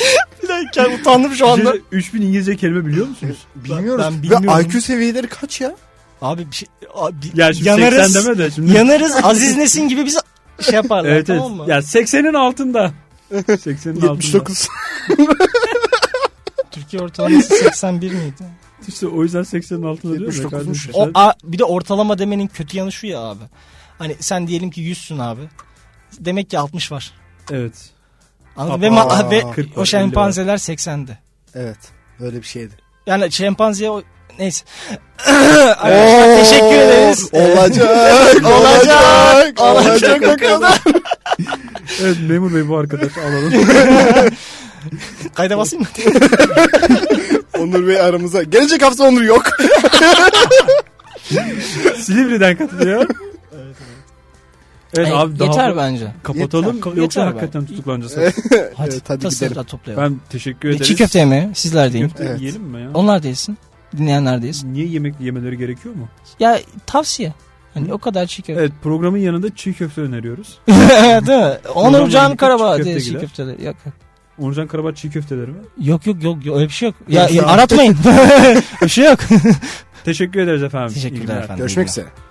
[SPEAKER 1] Bir dakika utandım şu
[SPEAKER 3] Siz
[SPEAKER 1] anda.
[SPEAKER 2] şey-
[SPEAKER 3] 3000 İngilizce kelime biliyor musunuz?
[SPEAKER 2] Bilmiyoruz.
[SPEAKER 1] Ben bilmiyorum.
[SPEAKER 2] Ve IQ seviyeleri kaç ya?
[SPEAKER 1] Abi bir şey... Abi,
[SPEAKER 3] Ya şimdi
[SPEAKER 1] yanarız.
[SPEAKER 3] 80 deme de şimdi.
[SPEAKER 1] Yanarız Aziz Nesin gibi bizi şey yaparlar
[SPEAKER 3] evet evet.
[SPEAKER 1] tamam mı?
[SPEAKER 3] Ya 80'in altında. 80'in altında.
[SPEAKER 2] 79.
[SPEAKER 1] Türkiye ortalaması 81 miydi?
[SPEAKER 3] İşte o yüzden 80'in altında diyorum ya
[SPEAKER 2] 79'muş.
[SPEAKER 3] kardeşim.
[SPEAKER 1] O a- bir de ortalama demenin kötü yanı şu ya abi. Hani sen diyelim ki 100'sün abi. Demek ki 60 var.
[SPEAKER 3] Evet.
[SPEAKER 1] Anladın? Ve,
[SPEAKER 2] Aa,
[SPEAKER 1] ma- ve
[SPEAKER 3] 40 var,
[SPEAKER 1] o
[SPEAKER 3] 50
[SPEAKER 1] şempanzeler 80'di.
[SPEAKER 2] Evet. Böyle bir şeydi.
[SPEAKER 1] Yani şempanzeye o... Neyse. Arkadaşlar
[SPEAKER 2] Oo,
[SPEAKER 1] teşekkür ederiz.
[SPEAKER 2] Olacak. olacak.
[SPEAKER 1] Olacak o kadar.
[SPEAKER 3] Evet memur bey bu arkadaş alalım.
[SPEAKER 1] Kayda basayım mı?
[SPEAKER 2] Onur Bey aramıza. Gelecek hafta Onur yok.
[SPEAKER 3] Silivri'den katılıyor. Evet
[SPEAKER 1] Ay,
[SPEAKER 3] abi daha
[SPEAKER 1] yeter bence.
[SPEAKER 3] kapatalım
[SPEAKER 1] Yeter.
[SPEAKER 3] yoksa
[SPEAKER 1] Yeter
[SPEAKER 3] hakikaten tutuklanacağız.
[SPEAKER 1] Hadi,
[SPEAKER 2] Evet, hadi
[SPEAKER 1] tasarı
[SPEAKER 2] gidelim.
[SPEAKER 1] da toplayalım.
[SPEAKER 3] Ben teşekkür
[SPEAKER 1] Bir
[SPEAKER 3] ederiz.
[SPEAKER 1] Çiğ köfte mi? Sizler deyin.
[SPEAKER 3] Köfte
[SPEAKER 2] Evet.
[SPEAKER 3] yiyelim mi ya?
[SPEAKER 1] Onlar değilsin. Dinleyenler değilsin.
[SPEAKER 3] Niye yemek yemeleri gerekiyor mu?
[SPEAKER 1] Ya tavsiye. Hani o kadar çiğ köfte.
[SPEAKER 3] Evet programın yanında çiğ köfte öneriyoruz.
[SPEAKER 1] Değil mi? Onur
[SPEAKER 3] Buradan
[SPEAKER 1] Can
[SPEAKER 3] bir
[SPEAKER 1] Karabağ
[SPEAKER 3] çiğ
[SPEAKER 1] diye
[SPEAKER 3] köfte
[SPEAKER 1] çiğ
[SPEAKER 3] gider.
[SPEAKER 1] köfteleri. Yok yok.
[SPEAKER 3] Onurcan Karabar çiğ köfteleri mi?
[SPEAKER 1] Yok yok yok yok, öyle bir şey yok. Ya,
[SPEAKER 2] Yok,
[SPEAKER 1] ya
[SPEAKER 2] yok.
[SPEAKER 1] aratmayın. bir şey yok.
[SPEAKER 3] Teşekkür ederiz efendim. İyi
[SPEAKER 1] Teşekkürler
[SPEAKER 3] günler.
[SPEAKER 1] efendim.
[SPEAKER 2] Görüşmek üzere.